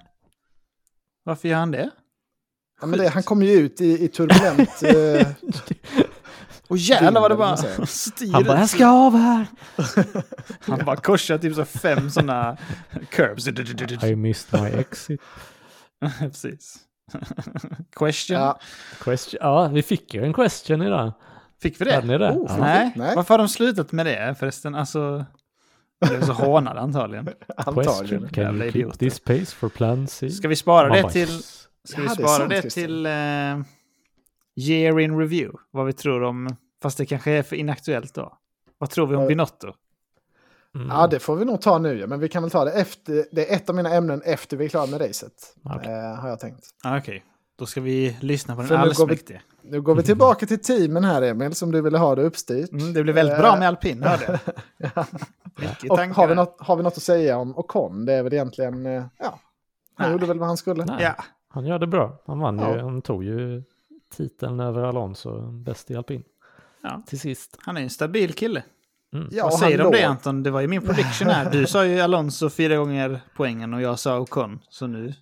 Varför gör han det? Ja, men det, han kom ju ut i, (laughs) i turbulent... eh, Och jävlar vad det Vinner, bara vill man säga. styr Han bara, ut. jag ska av här! Han bara korsar typ så fem sådana (laughs) curbs. I missed my exit. (laughs) Precis. (laughs) Question. ja, Question. Ja, vi fick ju en question idag. Fick vi det? Hade ni det? Oh, ja. fan. Nej. Nej. Varför har de slutat med det förresten? Alltså... Jag blev så hånad (laughs) antagligen. antagligen. Question. Can Jävla you keep idioter. this space for plan C? Ska vi spara Man det bara, till... yes. Ska vi Ja, det är spara sant, det, Christer. till eh, year in review? Vad vi tror om... Fast det kanske är för inaktuellt då. Vad tror vi om Eh, Binotto? Mm. Ja, det får vi nog ta nu. ja, Men vi kan väl ta det efter. Det är ett av mina ämnen efter vi är klara med racet. Okej. Eh, har jag tänkt. Ah, Okej, då ska vi lyssna på den För nu går vi- allsmäktige. Nu går vi tillbaka till teamen här Emil, som du ville ha det uppstyrt. Mm, det blir väldigt bra med alpin, hörde jag. (laughs) Mycket Och tankar har vi, där. något, har vi något att säga om Ocon? Det är väl egentligen, eh, ja, han Nej. gjorde väl vad han skulle. Nej, Ja, Han gör det bra. Han vann ju. Ja. Han tog ju titeln över Alonso, bäst i alpin. Ja. Till sist. han är en stabil kille. Mm. Ja, Vad han säger du om det låg. Anton? Det var ju min prediction här. Du sa ju Alonso fyra gånger poängen och jag sa Ocon. Så nu...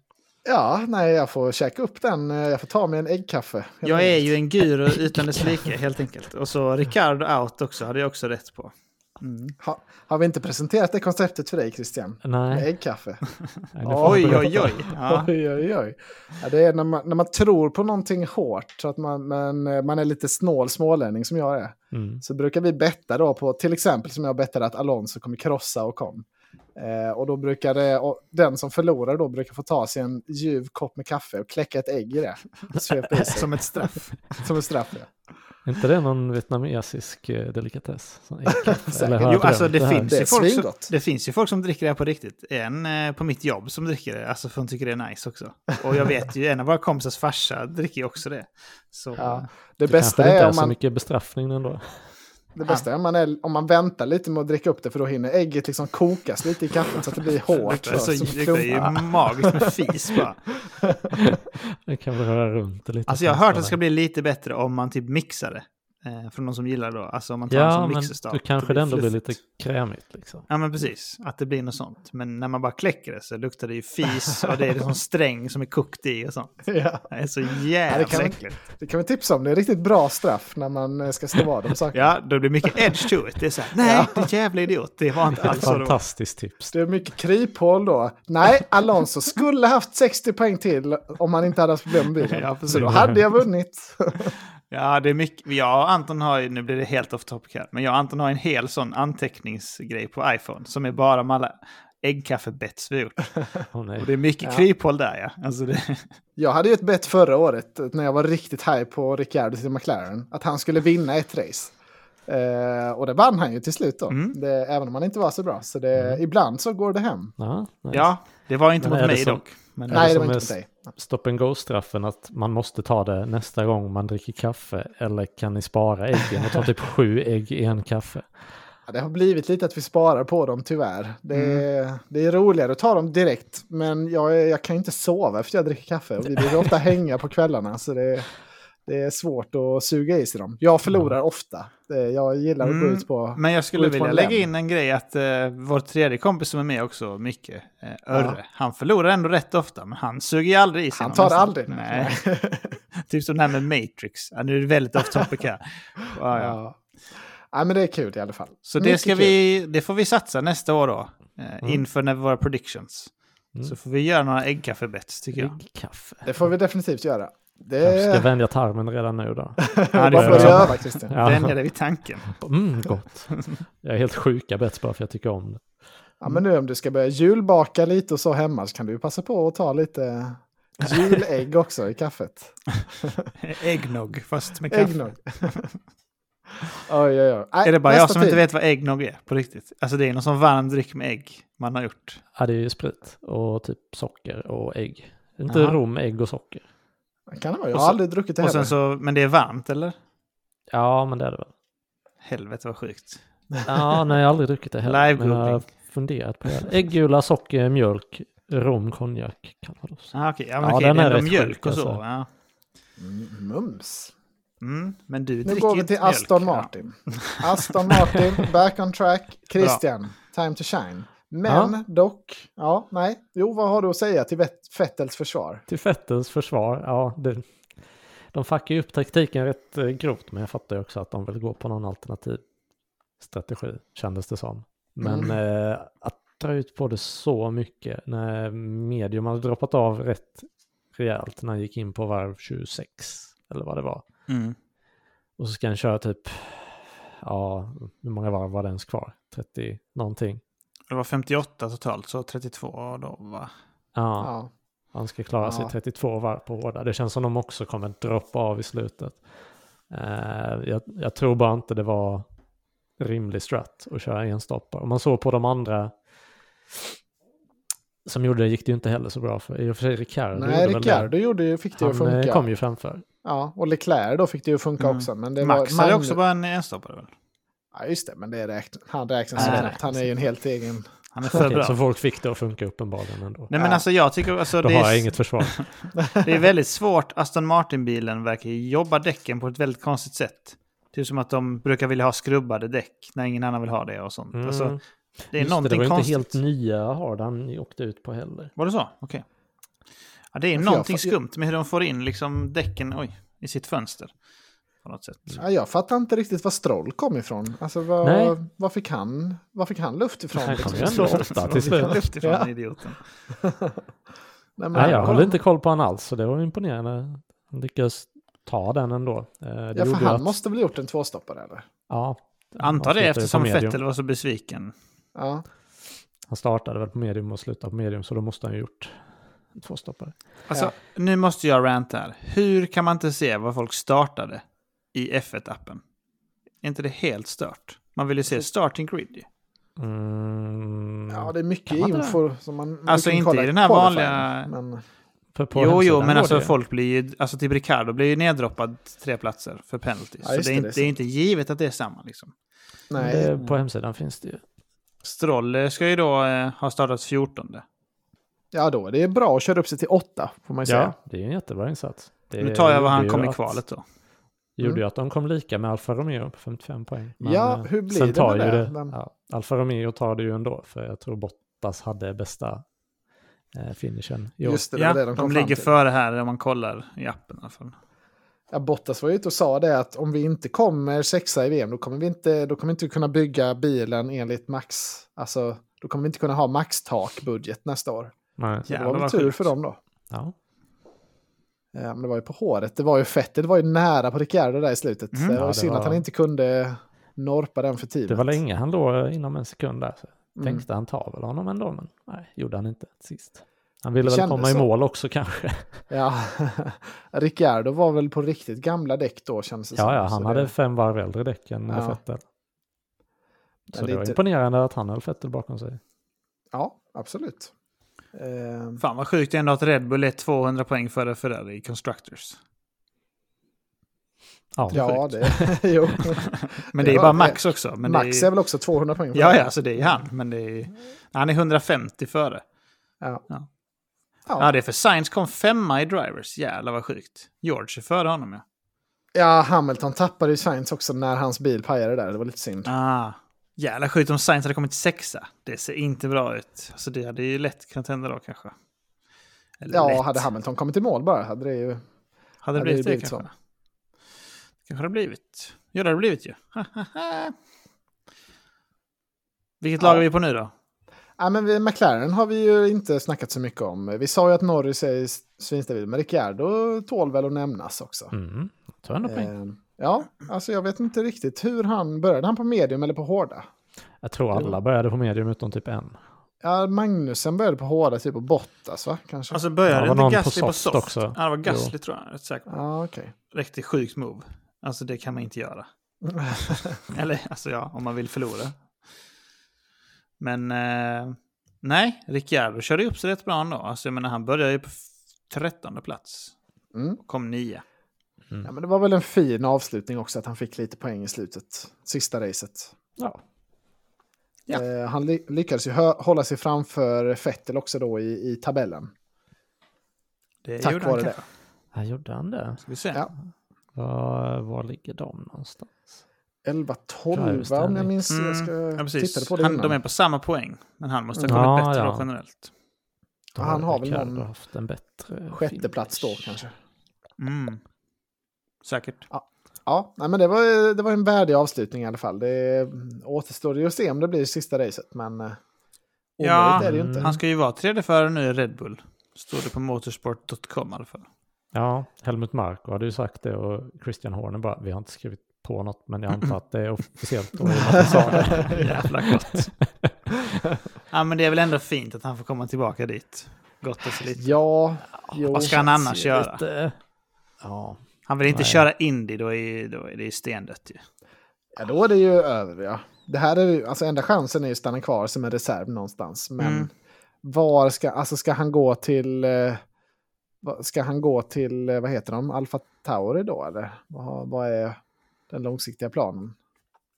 Ja, nej, jag får käka upp den. eh, Jag får ta mig en äggkaffe. helt Jag är enkelt. ju en guru utan dess like helt enkelt. Och så Ricardo out också, hade jag också rätt på. Mm. Ha, har vi inte presenterat det konceptet för dig Christian? Med Nej. äggkaffe? nej det får Oj, inte oj, låta. oj. Ja. (laughs) Oj, oj, oj. Ja, det är när man, när man tror på någonting hårt, så att man, men eh, man är lite snål smålänning som jag är. Mm. Så brukar vi betta då på, till exempel som jag bettade att Alonso kommer krossa och kom. Eh, och då brukar det, och den som förlorar då brukar få ta sig en ljuv kopp med kaffe och kläcka ett ägg i det. Svepa i (laughs) sig. Som ett straff. Som en straff. ja. Är inte det någon vietnamesisk eh, delikatess? Sån (laughs) äggkaffe? Eller har jag Jo, alltså drömt det här? finns, Det ju är folk som, svingott. det finns ju folk som dricker det här på riktigt. En eh, på mitt jobb som dricker det, alltså för hon tycker det är nice också. Och jag vet ju, en av våra kompisars farsa dricker ju också det. Så, Ja. Det, Det bästa kanske det inte är, är om så man, mycket bestraffning ändå. det bästa är, om, man är om man väntar lite med att dricka upp det för då hinner ägget liksom kokas lite i kaffet så att det blir (laughs) hårt. Det är, så, så, som Alltså, det är ju klumpar. magiskt med fis bara. (laughs) (laughs) Det kan väl röra runt det lite. Alltså jag har hört att det ska bli lite bättre om man typ mixar det. Eh, från någon som gillar det då. Alltså om man tar en Ja, som men mixerstav. då kanske det ändå blir lite krämigt liksom. Ja men precis, att det blir något sånt. Men när man bara kläcker det så luktar det ju fis och det är en sån sträng som är kokt i och sånt. (laughs) ja. Det är så det jävla kan- äckligt. Det kan vi tipsa om, det är riktigt bra straff när man eh, ska stå vad om saker. Ja, då blir det mycket edge to it. Det är så här, nej, det är jävla idiot. Det var inte alls så. det var." Fantastiskt tips. Det är mycket kryphål då. Nej, Alonso skulle haft 60 poäng till om han inte hade haft problem med bilen. Ja, precis. så då hade jag vunnit. Ja, det är mycket. Jag och Anton har ju, nu blir det helt off topic här, men jag och Anton har en hel sån anteckningsgrej på iPhone som är bara med alla äggkaffebets vi har gjort. Åh, nej. Och det är mycket Ja. kryphål där ja. Alltså det, Jag hade ju ett bett förra året när jag var riktigt high på Ricciardo till McLaren. Att han skulle vinna ett race. Eh, och det vann han ju till slut då. Det, även om han inte var så bra. Så det, ibland så går det hem. Ja, nej. ja, det var inte Men mot är det mig som- dock. Men, Nej, det som var inte är för dig. Stop and go-straffen att man måste ta det nästa gång man dricker kaffe. Eller kan ni spara äggen och (laughs) ta typ sju ägg i en kaffe? Ja, det har blivit lite att vi sparar på dem tyvärr. Det, Mm. är- det är roligare att ta dem direkt. Men jag, är- jag kan ju inte sova efter jag dricker kaffe. Och vi brukar ofta hänga på kvällarna. Så det, det är svårt att suga i sig dem. Jag förlorar ofta. Det, jag gillar att gå Mm, ut på... men jag skulle ut på vilja en lägga lem. in en grej att eh, vår tredje kompis som är med också, Micke, eh, Örre, han förlorar ändå rätt ofta, men han suger ju aldrig i sig Han någon tar nästan. aldrig. Nej. typ som det här med Matrix. Ja, nu är det väldigt off topic här. (laughs) Ja, ja. (laughs) Ja. Ja, men det är kul i alla fall. Så det, Mycket ska kul. Mm. vi, det får vi satsa nästa år då, eh, inför när våra predictions. Så får vi göra några äggkaffebets tycker (laughs) jag. Äggkaffe. Det får vi definitivt göra. Kanske Det ska vänja tarmen redan nu då. Ja, det vad får får vi du göra. göra, Christian. Ja. Vänja dig vid tanken. (laughs) Mm, gott. Jag är helt sjuka bets bara för jag tycker om det. Ja, men nu om du ska börja julbaka lite och så hemma så kan du ju passa på att ta lite julägg också i kaffet. Äggnog, fast med kaffe. Äggnog. oj, oj, oj. Nej, Är det bara nästa jag som tid. inte vet vad äggnog är på riktigt? Alltså det är någon sån varm dryck med ägg man har gjort. Ja, det är ju sprit och typ socker och ägg. Inte Jaha. rom, ägg och socker. Kan det vara? Jag Och har så- aldrig druckit det Och heller. sen så, men det är varmt eller? Ja, men det är det väl. Helvete vad sjukt. Ja, nej, jag har aldrig druckit det heller. men jag har Live-googling. funderat på det. Äggula, socker, mjölk, rom, konjak. kan det vara så. Ah, okej. Ja, men Ja, okej, den det är är ändå rätt mjölk sjuk, och så. alltså. Ja. Mm, Mums. Mm, men du Nu dricker går ju vi inte till Aston mjölk. Martin. (laughs) Aston Martin, back on track. Christian, time to shine. Men dock, ja, nej. Jo, vad har du att säga till Vett- Vettels försvar? Till Fettels försvar, ja, det, de fuckar ju upp taktiken rätt eh, grovt, men jag fattar ju också att de vill gå på någon alternativ strategi, kändes det som. Men eh, att dra ut på det så mycket när medium hade droppat av rätt rejält när han gick in på varv 26, eller vad det var. Ja. Mm. Och så ska han köra typ, ja, hur många varv var det ens kvar? 30 någonting. Det var 58 totalt, så 32 då va? Ja, Ja. Han ska klara sig Ja. 32 varv på hårda. Det känns som de också kommer droppa av i slutet. Eh, jag, jag tror bara inte det var rimlig strat och köra enstoppar. Och man såg på de andra som gjorde det gick det ju inte heller så bra för. I och för sig Ricardo Nej, gjorde väl Ricardo gjorde, ju- fick det det. ju att Han eh, funka. kom ju framför. Ja, och Leclerc då fick det ju att funka Mm. också. Men det Max var, hade Magnu- också bara en enstoppare väl? Ja, just det, men det räknas. Han räknas Nej, inte. räknas Han är ju en helt egen... Han är för Okej, bra. så folk fick det att funka uppenbarligen ändå. Nej men Ja. alltså jag tycker, alltså, Då det, har är, jag inget försvar. (laughs) det är väldigt svårt. Aston Martin-bilen verkar ju jobba däcken på ett väldigt konstigt sätt. Typ som att de brukar vilja ha skrubbade däck när ingen annan vill ha det och sånt. Mm. Alltså, det är Just det, någonting det var ju konstigt. inte helt nya Hardan åkte ut på heller. Var det så? Okej. Ja, det är Ja, för någonting jag- skumt med hur de får in liksom däcken oj, i sitt fönster. På något sätt. Ja, jag fattar inte riktigt var Stroll kom ifrån. Alltså, var, Nej. var, fick han, var fick han luft ifrån? Han kom liksom? (laughs) ju ändå åtta till slut. Luft ifrån Ja. den idioten. Nej, men Nej, jag han- håller inte koll på han alls, så det var imponerande. Han lyckades ta den ändå. Eh, Det Ja, för gjorde ju han att- måste väl gjort en tvåstoppare eller? Ja. Antar Han det slutade eftersom på medium. Vettel var så besviken. Ja. Han startade väl på medium och slutade på medium, så då måste han ju gjort två stoppar. Alltså, nu måste jag ranta här. Hur kan man inte se vad folk startade i F1-appen? Är inte det helt stört? Man vill ju se starting grid ju. Mm. ja, det är mycket Kan man inte info som man... Alltså, man kan inte i kolla den här qualifying, vanliga- Men, För på Jo, jo, hemsidan men var alltså det ju. folk blir ju... Alltså typ Ricardo blir ju neddroppad tre platser för penalty. Ja, så det är, just det, det inte, det är är inte givet att det är samma liksom. nej, Det, Eh, på hemsidan finns det ju. Stroll eh, ska ju då eh, ha startat 14. ja då är det bra att köra upp sig till åtta får man ju säga. Ja, det är ju en jättebra insats. Det Nu tar jag vad gjorde han ju kom i att- kvalet då. gjorde Mm. ju att de kom lika med Alfa Romeo på 55 poäng. Ja, eh, hur blir det tar med ju det? Men- ja, Alfa Romeo tar det ju ändå, för jag tror Bottas hade bästa eh, finishen. i år. Just det, det Ja, de var det de kom fram ligger till. före här om man kollar i appen i alla fall. Ja, Bottas var ute och sa det att om vi inte kommer sexa i VM då kommer vi inte, då kommer vi inte kunna bygga bilen enligt max. Alltså, då kommer vi inte kunna ha max-tak-budget nästa år. Nej. Så det Jävlar, var väl vad tur sjukt. för dem då. Ja. Eh, Men det var ju på håret. Det var ju fett. Det var ju nära på Ricciardo där i slutet. Mm. det Ja, var ju det synd var- att han inte kunde norpa den för tidigt. Det var länge han låg eh, inom en sekund där. Så Mm. Tänkte han tar väl honom ändå, men nej, gjorde han inte till sist. Han ville Det väl kändes komma i så. mål också kanske. Ja. (laughs) Ricciardo var väl på riktigt gamla däck då kändes det som. Ja, ja, Så han det- hade fem varv äldre däck än Ja. Vettel. Men Så det det, är var inte- imponerande att han höll Vettel bakom sig. Ja, absolut. Ehm, Fan vad sjukt ändå att Red Bull är 200 poäng före Ferrari i Constructors. Ja, ja, det... (laughs) jo. Men Det det är var- bara Max också. Men Max det är är, väl också 200 poäng? för Ja, det. ja, så det är han. Men det är, han är 150 före. Ja. Ja. Ja, Ja. det är för Sainz kom femma i Drivers. Jävlar vad sjukt. George är före honom ja. ja, Hamilton tappade ju Sainz också när hans bil pajade där. Det var lite synd. Ah. Jävla sjukt om Sainz hade kommit sexa. Det ser inte bra ut. Alltså det hade ju lätt kunnat hända då kanske. Eller Ja, lätt. hade Hamilton kommit i mål bara hade det ju... Hade det Hade det blivit det, blivit kanske? kanske det blivit. Ja, det hade blivit ju. Hahaha. Vilket Ja. lag är vi på nu då? Ja, men vi, McLaren har vi ju inte snackat så mycket om. Vi sa ju att Norris är svinstabil, men Ricciardo tål väl att nämnas också. Mm, tog ändå poäng. Ehm, ja, alltså jag vet inte riktigt hur han började. Han på medium eller på hårda? Jag tror alla började på medium utom typ en. Ja, Magnusen började på hårda, typ på Bottas va? Kanske? Alltså Ja, började det var inte någon på Gasly på soft? soft också. Ja, det var Gasly Jo. tror jag. Rätt säkert. ja, okej. Riktigt sjukt move. Alltså det kan man inte (laughs) göra. Eller alltså ja, om man vill förlora. Men eh, nej, Ricciardo körde ju upp sig rätt bra ändå. Alltså jag menar han började ju på trettonde plats. Mm. Och kom nia. Ja, men det var väl en fin avslutning också att han fick lite poäng i slutet, sista racet. Ja, Ja. Eh, han ly- lyckades ju hö- hålla sig framför Vettel också då i, i tabellen. Det Tack gjorde han vare det. kanske. här gjorde han det. Ska vi se. Ja. Var, var ligger de någonstans? 11-12 om jag Driverställning. minns. Mm, Jag ska, ja, precis. tittade på det han, innan. De är på samma poäng, men han måste ha Mm. kommit Ja, bättre ja. då generellt. Då Han har väl Ricardo någon haft en bättre Sjätte plats då finish. kanske. Mm. Säkert. Ja, nej, men det var, det var en värdig avslutning i alla fall. Det återstår ju att se om det blir sista racet, men eh, Ja, omöjligt är det ju inte. Han ska ju vara tredje förare nu i Red Bull. Står det på motorsport.com i alla (laughs) fall. Ja, Helmut Marko hade ju sagt det och Christian Horner bara, vi har inte skrivit på något, men jag antar att det är officiellt. (laughs) Och Martin sa det. Jävla gott. ja, men det är väl ändå fint att han får komma tillbaka dit. Gott och så lite. Ja, jo. Vad ska (laughs) han annars Det är göra? lite- Ja, Han vill inte Nej. köra Indy, då är, då är det ju stendött ju. Ja, då är det ju över ja. Det här är ju, alltså enda chansen är ju att stanna kvar som en reserv någonstans. Men Mm. var ska, alltså ska han gå till, eh, vad- ska han gå till, eh, vad heter de, Alfa Tauri då eller? Vad, vad är den långsiktiga planen?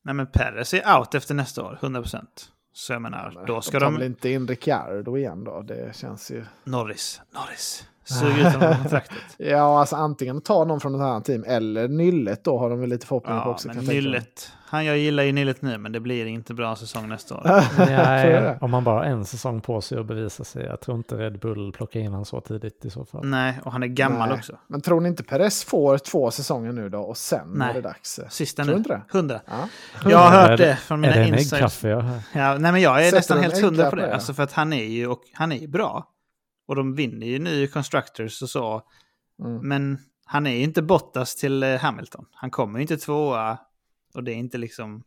Nej men Perez är out efter nästa år, 100%. Så jag menar, då ska tar de... väl inte in Ricciardo igen då? Det känns ju... Norris, Norris. Sug ut honom från (laughs) kontraktet. Ja, alltså antingen ta någon från ett annat team eller Nyllet då har de väl lite förhoppningar på Ja, också. men jag tänka mig. Nyllet. Han, jag gillar ju Nyllet nu, men det blir inte bra säsong nästa år. Ah. Så är det. Nej, om man bara har en säsong på sig att bevisa sig. Jag tror inte Red Bull plockar in han så tidigt i så fall. Mm, Nej, och han är gammal Nej. också. Men tror ni inte Perez får två säsonger nu då och sen Nej. är det dags? Sista Tror nu. inte det? 100. Ja. Jag har Är hört det- det från Är mina det en insights. äggkaffe jag hör? Ja, nej, men jag är Sätter nästan de helt en hundra på klapp det. där? Alltså för att han är ju, och han är ju bra. Och de vinner ju nu i Constructors och så. Mm. Men han är ju inte Bottas till eh, Hamilton. Han kommer ju inte tvåa och det är inte liksom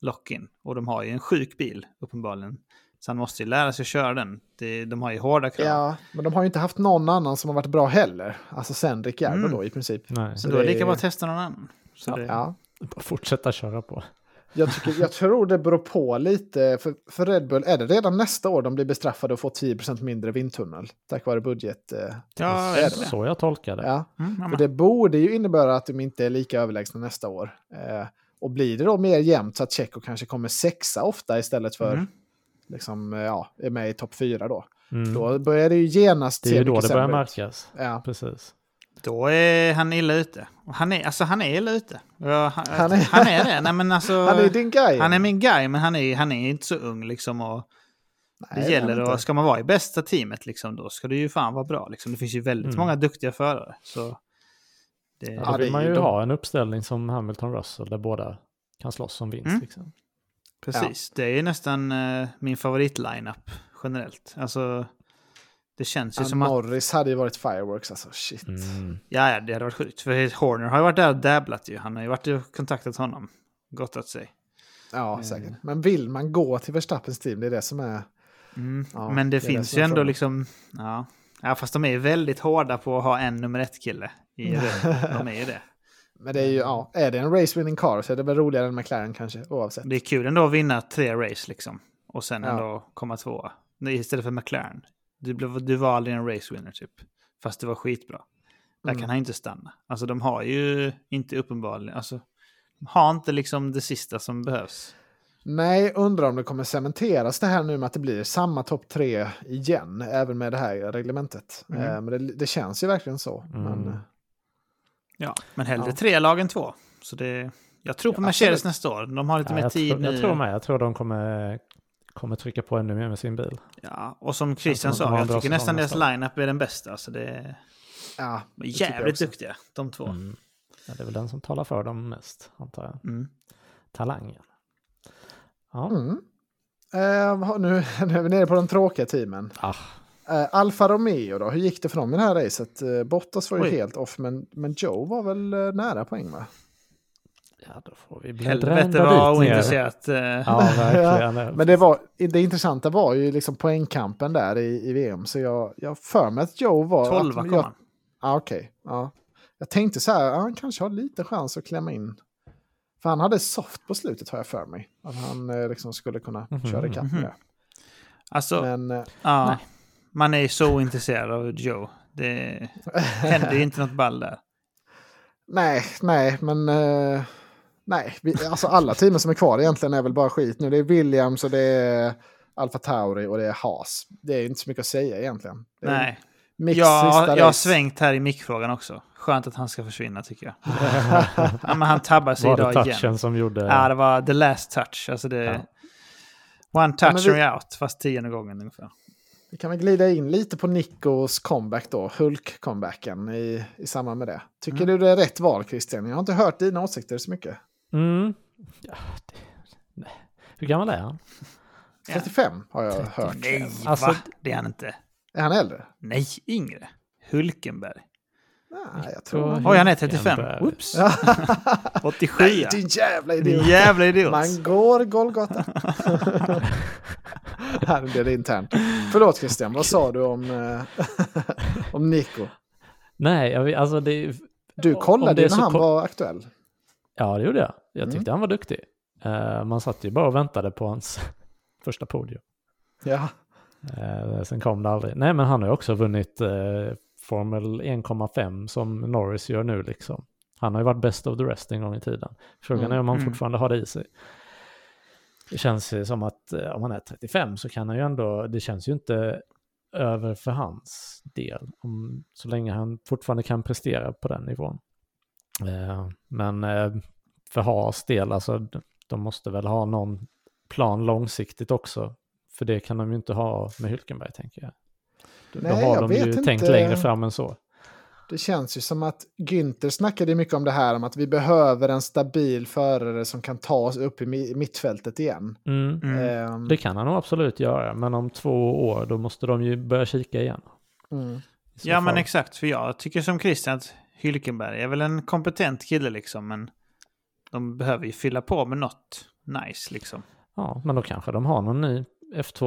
lock-in. Och de har ju en sjuk bil uppenbarligen. Så han måste ju lära sig att köra den. Det, de har ju hårda krav. Ja, men de har ju inte haft någon annan som har varit bra heller. Alltså sen Ricciardo Mm. då i princip. Nej, så då är det det- lika bra att testa någon annan. Så det, Ja. bara fortsätta köra på. Jag, tycker, jag tror det beror på lite. För, för Red Bull är det redan nästa år de blir bestraffade och får 10% mindre vindtunnel. Tack vare budget. eh, ja, är jag det. vet det. Så jag tolkar det. Ja. Mm, ja, För men- det borde ju innebära att de inte är lika överlägsna nästa år. Eh, och blir det då mer jämnt så att Tjecko kanske kommer sexa ofta istället för Mm. liksom, eh, ja, är med i topp fyra då. Mm. Då börjar det ju genast Det är ju då mycket det börjar sämre ut. märkas. Ja. Precis. Då är han illa ute. Och han är, alltså han är illa ute. Ja, han, Han han, är- är, han är det. Nej, men alltså, (laughs) Han är ju din guy. han är min guy, men han är, han är inte så ung liksom. Och det Nej, det är gäller han inte. och ska man vara i bästa teamet liksom, då ska det ju fan vara bra. Liksom. Det finns ju väldigt Mm. många duktiga förare. Så det, Ja, Ja, det då är vill man ju ju de- ha en uppställning som Hamilton Russell där båda kan slåss om vinst. Mm. Liksom. Precis, det är ju nästan eh, min favorit-lineup generellt. Alltså, det känns ju Ja, som att... Norris hade ju varit fireworks alltså. Shit. Mm. Ja, ja, det hade varit sjukt. För Horner har ju varit där och dabblat ju. Han har ju varit och kontaktat honom. Gott åt sig. Ja, säkert. Men vill man gå till Verstappens team, det är det som är... Mm. Ja, Men det, det är det finns som ju är ändå frågan. liksom... Ja. ja, fast de är ju väldigt hårda på att ha en nummer ett-kille i Mm. Red (laughs) Bull. De är ju det. Men det är ju, Mm. ja, är det en race winning car så är det väl roligare än McLaren kanske, oavsett. Det är kul ändå att vinna tre race liksom. Och sen Ja. ändå komma tvåa. Nej, Istället för McLaren. Du, blev, du var aldrig en race winner typ. Fast det var skitbra. Där Mm. kan han inte stanna. Alltså de har ju inte uppenbarligen... Alltså, de har inte liksom det sista som behövs. Nej, undrar om det kommer cementeras det här nu med att det blir samma topp tre igen, även med det här reglementet. Mm. Eh, Men det, det känns ju verkligen så. Mm. Men, eh, Ja, men hellre Ja. tre lag än två. Så det, jag tror på Ja, Mercedes absolut. nästa år. De har lite Ja, mer jag, tid tror, nu. jag tror med. Jag tror de kommer, kommer trycka på ännu mer med sin bil. Ja, och som Christian Jag tror de sa, har en jag bra tycker nästan säsong deras nästa lineup är den bästa. Så det är ja, de är det tycker jag jävligt också. duktiga, de två. Mm. Mm. Ja, det är väl den som talar för dem mest, antar jag. Talangen. Ja. Mm. Eh, vad- nu, (laughs) nu är vi nere på de tråkiga teamen. Ah, Eh, Alfa Romeo då, hur gick det för dem i det här racet? Eh, Bottas var ju Oj. helt off, men, men Joe var väl eh, nära poäng va? ja, då får vi Helvete bläddra vad dit ner. ointresserat. eh, Ja, (laughs) verkligen. Men det, var, det intressanta var ju liksom poängkampen där i, i VM. Så jag, jag har för mig att Joe var... att- Tolva kom jag- han. Ja, Ah, okej. ja. Jag tänkte så här, ja, han kanske har lite chans att klämma in. För han hade soft på slutet har jag för mig. Att han eh, liksom skulle kunna Mhm, köra ikapp med det. Alltså, Men eh, ja, man är ju så ointresserad av Joe. Det hände ju inte något ball där. nej, nej, men... eh, nej, vi, alltså alla teamen som är kvar egentligen är väl bara skit nu. Det är Williams och det är Alfa Tauri och det är Haas. Det är inte så mycket att säga egentligen. (laughs) Det är Nej, Mix sista jag, jag har race. svängt här i mickfrågan också. Skönt att han ska försvinna tycker (laughs) jag. ja, men han tabbar sig Var det idag touchen igen. som gjorde... Ja, det var the last touch. Alltså det... One touch Ja, men vi- and you're out, fast tionde gången ungefär. Vi kan väl glida in lite på Nickos comeback då, Hulk-comebacken i, i samband med det. Tycker Mm. du det är rätt val Christian? Jag har inte hört dina åsikter så mycket. Mm. Ja, det... Nej. Hur gammal är han? Ja. 35 har jag hört. Nej, Alltså- va? Det är han inte. Är han äldre? Nej, yngre. Hulkenberg. Nej, jag tror Oj. han Oj, han är 35. (laughs) Hulkenberg. Oops. Ja. 87. Nej, din jävla Din idiot! jävla idiot. Man går (laughs) Golgata. Här blir det internt. Förlåt Christian, vad sa du om, eh, (laughs) om Nico? Nej, jag, vet- alltså det... Du Om kollade det ju är när så han ko- var aktuell. Ja, det gjorde jag. Jag Mm. tyckte han var duktig. Eh, man satt ju bara och väntade på hans (laughs) första podium. Ja. Eh, sen kom det aldrig. Nej, men han har ju också vunnit eh, Formel 1,5 som Norris gör nu liksom. Han har ju varit best of the rest en gång i tiden. Frågan är om han Mm. fortfarande har det i sig. Det känns ju som att eh, om han är 35 så kan han ju ändå, det känns ju inte över för hans del. Om, så länge han fortfarande kan prestera på den nivån. Eh, men eh, för Haas del, alltså, d- de måste väl ha någon plan långsiktigt också. För det kan de ju inte ha med Hülkenberg, tänker jag. Då Nej, har jag de vet ju inte. tänkt längre fram än så. Det känns ju som att Günther snackade mycket om det här om att vi behöver en stabil förare som kan ta oss upp i mi- mittfältet igen. Mm. Mm. Ehm, Det kan han nog absolut göra, men om två år då måste de ju börja kika igen. mm. I så Ja, men fall. exakt. För jag tycker som Christian att Hylkenberg är väl en kompetent kille liksom, men de behöver ju fylla på med något nice liksom. ja, men då kanske de har någon ny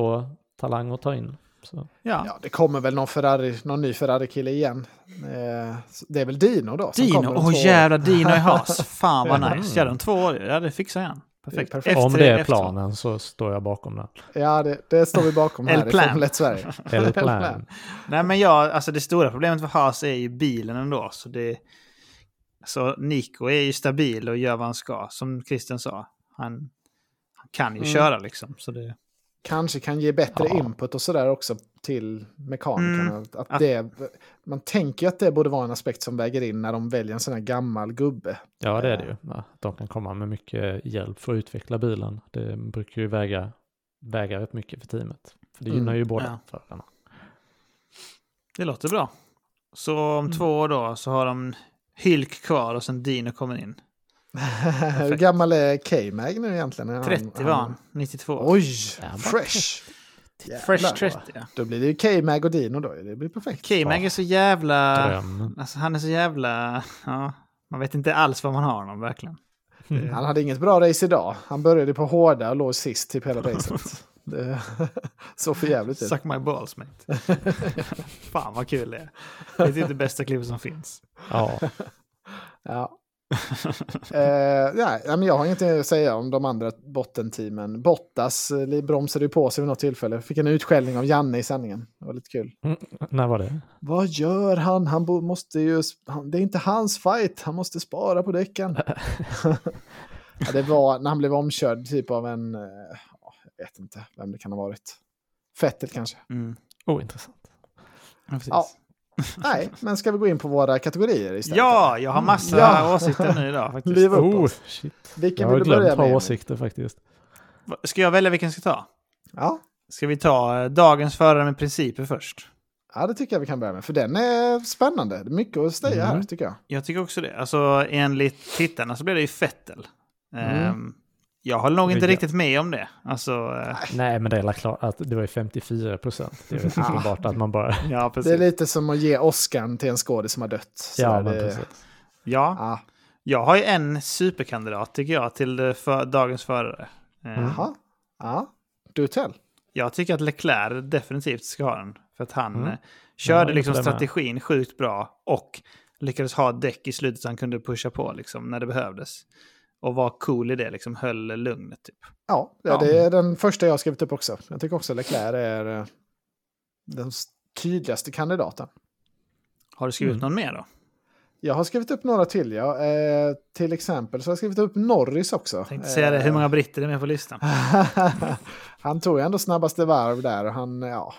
F2-talang att ta in. Så. Ja. Ja, det kommer väl någon, Ferrari, någon ny Ferrari-kille igen. Ehm, så det är väl Dino då? som Dino, kommer om två åh år. jävla Dino (laughs) i has. Fan vad Ja. nice. Ja, de två år, ja det fixar han. Perfekt. Det är perfekt. Om F3, det är F2. planen så står jag bakom den. Ja, det, det står vi (laughs) bakom här i El-Plan. Formel 1 Sverige. (laughs) Eller plan. plan. Nej men jag, alltså det stora problemet för Haas är ju bilen ändå. Så det... Så Nico är ju stabil och gör vad han ska, som Christian sa. Han, han kan ju Mm. köra liksom. Så det... Kanske kan ge bättre Ja. input och sådär också till mekanikerna. Mm. Att- Att Att- det, man tänker ju att det borde vara en aspekt som väger in när de väljer en sån här gammal gubbe. (laughs) Ja, det är det ju. Ja, Eh, de kan komma med mycket hjälp för att utveckla bilen. Det brukar ju väga, väga rätt mycket för teamet. För det Mm, gynnar ju båda ja. förarna. Det låter bra. Så om två år då så har de Hylk kvar och sen Dino kommer in. Hur gammal är K-Mag nu egentligen? Är han- 30 var han, 92. Oj, Ja, bara fresh! Fresh jävlar. 30 ja. Då blir det ju K-Mag och Dino då. Det blir perfekt. K-Mag är så jävla... Dröm. Alltså han är så jävla... Ja, man vet inte alls vad man har honom verkligen. eh. Han hade inget bra race idag. Han började på hårda och låg sist typ (laughs) hela racet. Det (laughs) såg för jävligt ut. Suck my balls (laughs) mate. Fan vad kul det är. Det är typ det bästa klippet som finns. Ah. Ja, (laughs) Ja. eh, nej, nej, men jag har inget att säga om de andra bottenteamen. Bottas eh, li- bromsade ju på sig vid något tillfälle. Fick en utskällning av Janne i sändningen. Det var lite kul. när var det? Vad gör han? Han bo- måste ju... sp- Han, det är inte hans fight. Han måste spara på däcken. (laughs) ja, det var när han blev omkörd typ av en... Eh, ja, jag vet inte vem det kan ha varit. Fettel kanske. Mm. Ointressant. Ja, precis. Ja. Nej, men ska vi gå in på våra kategorier istället? ja, jag har massa Ja. åsikter nu idag faktiskt. Liv upp Oh, oss. shit. Jag Vilken har vill du börja glömt med? ha Emil? åsikter faktiskt. Ska jag välja vilken jag ska ta? Ja. Ska vi ta eh, dagens förare med principer först? Ja, det tycker jag vi kan börja med. För den är spännande. Det är mycket att säga här, Mm. tycker jag. Jag tycker också det. Alltså enligt tittarna så blir det ju Fettel. Mm. Ehm, jag håller nog inte Rygga. riktigt med om det. Alltså, eh, Nej, men det är väl klart att det var ju 54 procent. Det är väl Ja. uppenbart att man bara... ja, Det är precis. lite som att ge Oscar till en skådis som har dött. Så Ja, det, men precis. Ja, Ja, jag har ju en superkandidat tycker jag till eh, för, dagens förare. Ehm, Mm. jaha. Ja, du tell. Jag tycker att Leclerc definitivt ska ha den. För att han Mm. eh, körde Ja, liksom jag håller med. strategin sjukt bra och lyckades ha däck i slutet så han kunde pusha på liksom, när det behövdes. Och var cool i det, liksom höll lugnet. Typ. Ja, det, Ja. det är den första jag har skrivit upp också. Jag tycker också Leclerc är eh, den s- tydligaste kandidaten. Har du skrivit Mm. någon mer då? Jag har skrivit upp några till, ja. Eh, till exempel så har jag skrivit upp Norris också. Tänkte säga det, Eh, hur många britter är med på listan? (laughs) han tog ju ändå snabbaste varv där och han, ja,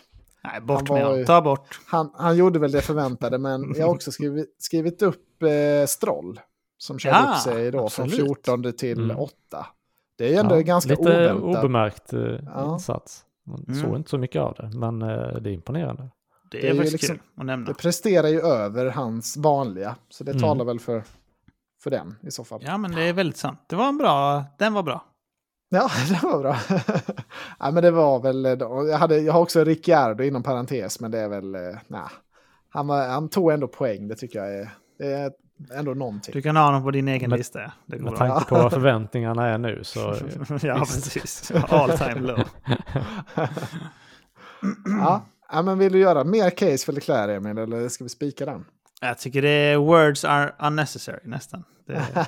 Nej, bort var med honom. ju- Ta bort. Han, han gjorde väl det förväntade, men jag har också skrivit, skrivit upp eh, Stroll. Som körde Ja, upp sig då absolut. från 14 till Mm. 8. Det är ju ändå Ja, ganska Lite oväntat. obemärkt eh, Ja. insats. Man Mm. såg inte så mycket av det, men eh, det är imponerande. Det är, det är ju faktiskt liksom- kul att nämna. Det presterar ju över hans vanliga, så det Mm. talar väl för, för den i så fall. Ja, Ja, men det är väldigt sant. Det var en bra... Den var bra. (laughs) det var bra. ja, men det var väl, eh, då- jag, hade, jag har också Ricciardo inom parentes, men det är väl, eh, nej. Han, var, han tog ändå poäng, det tycker jag är, det är ändå någonting. Du kan ha honom på din egen Med- lista. ja. Det går Med (laughs) bra. tanke (laughs) på vad förväntningarna är nu så... eh, ja, precis. All time low. Ja. ja, men vill du göra mer case för Leclerc, Emil, eller ska vi spika den? (laughs) Jag tycker det är words are unnecessary nästan. Det,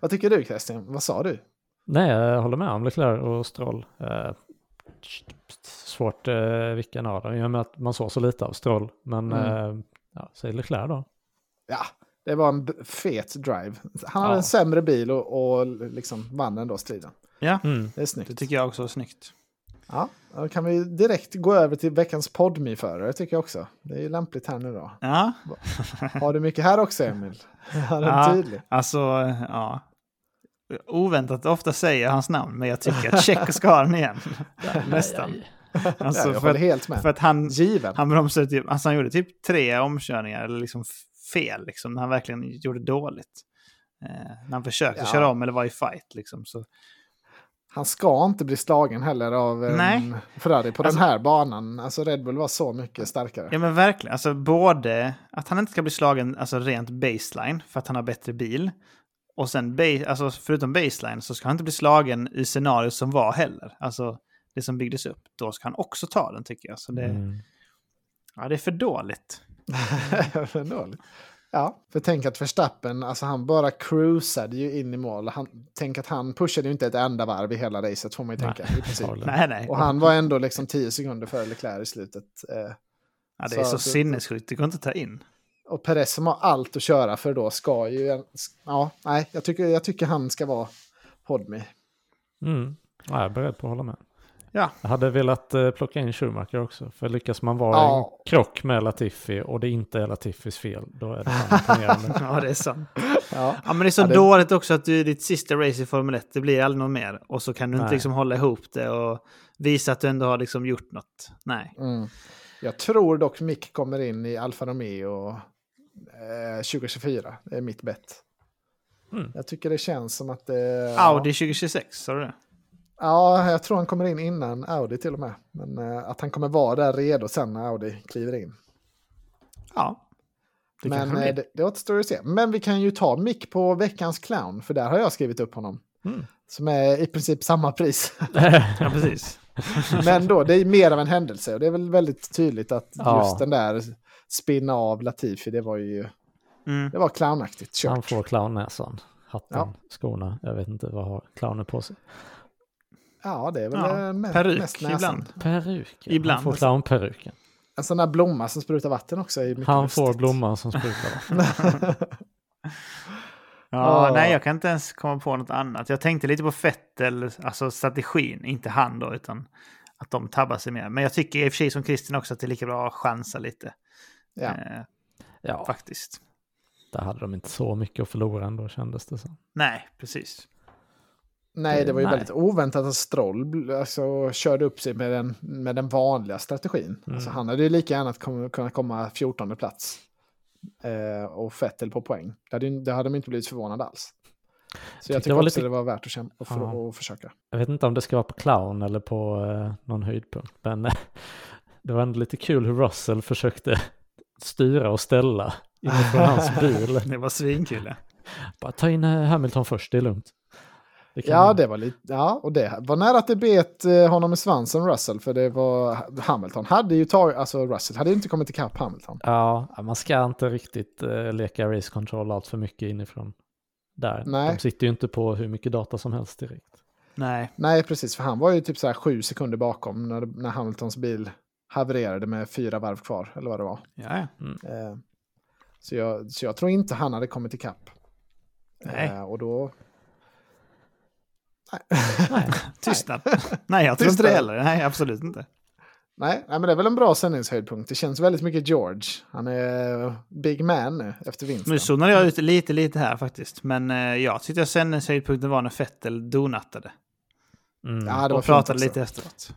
Vad tycker du Christian? Vad sa du? Nej, jag håller med om Leclerc och Stroll. Eh, svårt eh, vilken av dem, i och med att man såg så lite av Stroll. Men eh, ja, säg Leclerc då. Ja, det var en b- fet drive. Han hade Ja. en sämre bil och, och liksom vann ändå striden. ja, Mm. Det är det snyggt. tycker jag också är snyggt. Ja, då kan vi direkt gå över till veckans podmi-förare tycker jag också. Det är ju lämpligt här nu då. Ja, Har du mycket här också Emil? (laughs) Är den Ja. tydlig? alltså, ja. Oväntat ofta säger jag hans namn, men jag tycker att check ska ha den igen. Nästan. (laughs) ja, Alltså, jag för, håller att, helt med. för att han, Given. han bromsade typ, alltså han gjorde typ tre omkörningar, eller liksom f- fel, liksom, när han verkligen gjorde dåligt. Eh, när han försökte Ja. köra om eller var i fight, liksom. Så, Han ska inte bli slagen heller av en Nej. Ferrari på Alltså- den här banan. Alltså Red Bull var så mycket starkare. Ja men verkligen. Alltså både att han inte ska bli slagen alltså rent baseline för att han har bättre bil. Och sen ba- alltså, förutom baseline så ska han inte bli slagen i scenariot som var heller. Alltså det som byggdes upp. Då ska han också ta den tycker jag. Så det, Mm. ja, det är för dåligt. (laughs) Men dåligt. Ja, för tänk att Verstappen, alltså han bara cruisade ju in i mål. Han, tänk att han pushade ju inte ett enda varv i hela racet får man ju Nej, tänka. I princip. antagligen. Nej nej. Och han var ändå liksom 10 sekunder före Leclerc i slutet. Eh, ja, det är så så att- sinnessjukt. Det går inte att ta in. (laughs) och Perez som har allt att köra för då ska ju... Ja, nej, jag tycker, jag tycker han ska vara Podme. Mm. Ja, jag är beredd på att hålla med. Ja. Jag hade velat eh, plocka in Schumacher också. För lyckas man vara i Ja. en krock med Latifi och det inte är Latifis fel, då är det fan imponerande. Ja det är sant. Ja. Ja men det är så Ja, det- dåligt också att du i ditt sista race i Formel 1, det blir aldrig något mer. Och så kan du inte Nej. liksom hålla ihop det och visa att du ändå har liksom gjort något. Nej. Mm. Jag tror dock Mick kommer in i Alfa Romeo eh, 2024. Det är mitt bett. Mm. Jag tycker det känns som att... Eh, Audi 2026, sa du det? Ja, jag tror han kommer in innan Audi till och med. Men eh, att han kommer vara där redo sen när Audi kliver in. Ja. Det Men kanske blir. eh, det, det återstår att se. Men vi kan ju ta Mick på veckans clown, för där har jag skrivit upp honom. Mm. Som är i princip samma pris. Ja, precis. Men då, det är mer av en händelse. Och det är väl väldigt tydligt att Ja. just den där spinna av Latifi, det var ju (laughs) Mm. det var clownaktigt Han kört. får clownnäsan, hatten, Ja. skorna. Jag vet inte vad har clownen på sig. Ja, det är väl Ja, eh, me- Peruk mest näsan. ibland. Peruken. Ibland. Han får clownperuken. En sån där blomma som sprutar vatten också. Är mycket Han lustigt. får blomman (laughs) som sprutar. Ja, Ja. Nej, jag kan inte ens komma på något annat. Jag tänkte lite på Fettel, alltså strategin, inte han då, utan att de tabbar sig mer. Men jag tycker i och för sig som Kristin också att det är lika bra att chansa lite. Ja. Eh, Ja, faktiskt. där hade de inte så mycket att förlora ändå kändes det som. Nej, precis. Nej, det var ju Nej. väldigt oväntat att Stroll bl- alltså, körde upp sig med den, med den vanliga strategin. Mm. Alltså, han hade ju lika gärna kom, kunnat komma 14 plats eh, och Fettel på poäng. Det hade, ju- det hade de inte blivit förvånade alls. Så jag tyckte tycker det var också lite- det var värt att, kämpa, och för, Ja. att försöka. Jag vet inte om det ska vara på clown eller på eh, någon höjdpunkt, men eh, (laughs) det var ändå lite kul hur Russell försökte styra och ställa (laughs) inifrån hans bil. Det var svinkul. Bara ta in eh, Hamilton först, det är lugnt. Det kan Ja, man- det var lite... Ja, och det var nära att det bet eh, honom i svansen, Russell, för det var... Hamilton hade ju tagit... Alltså, Russell hade ju inte kommit ikapp Hamilton. ja, man ska inte riktigt eh, leka race control allt för mycket inifrån där. Nej. De sitter ju inte på hur mycket data som helst direkt. Nej. Nej, precis, för han var ju typ så här sju sekunder bakom när, när Hamiltons bil havererade med fyra varv kvar, eller vad det var. Ja, ja. Eh, så, jag, så jag tror inte han hade kommit ikapp. Nej. Eh, och då... Tystnad. Nej, jag tror inte det heller. Nej, absolut inte. Nej, nej, men det är väl en bra sändningshöjdpunkt. Det känns väldigt mycket George. Han är eh, big man nu efter vinsten. Nu zonade jag ut lite, lite här faktiskt. Men eh, jag tyckte jag sen höjdpunkten var när Fettel donattade. Mm. Ja, det var Och fint pratade också. lite efteråt.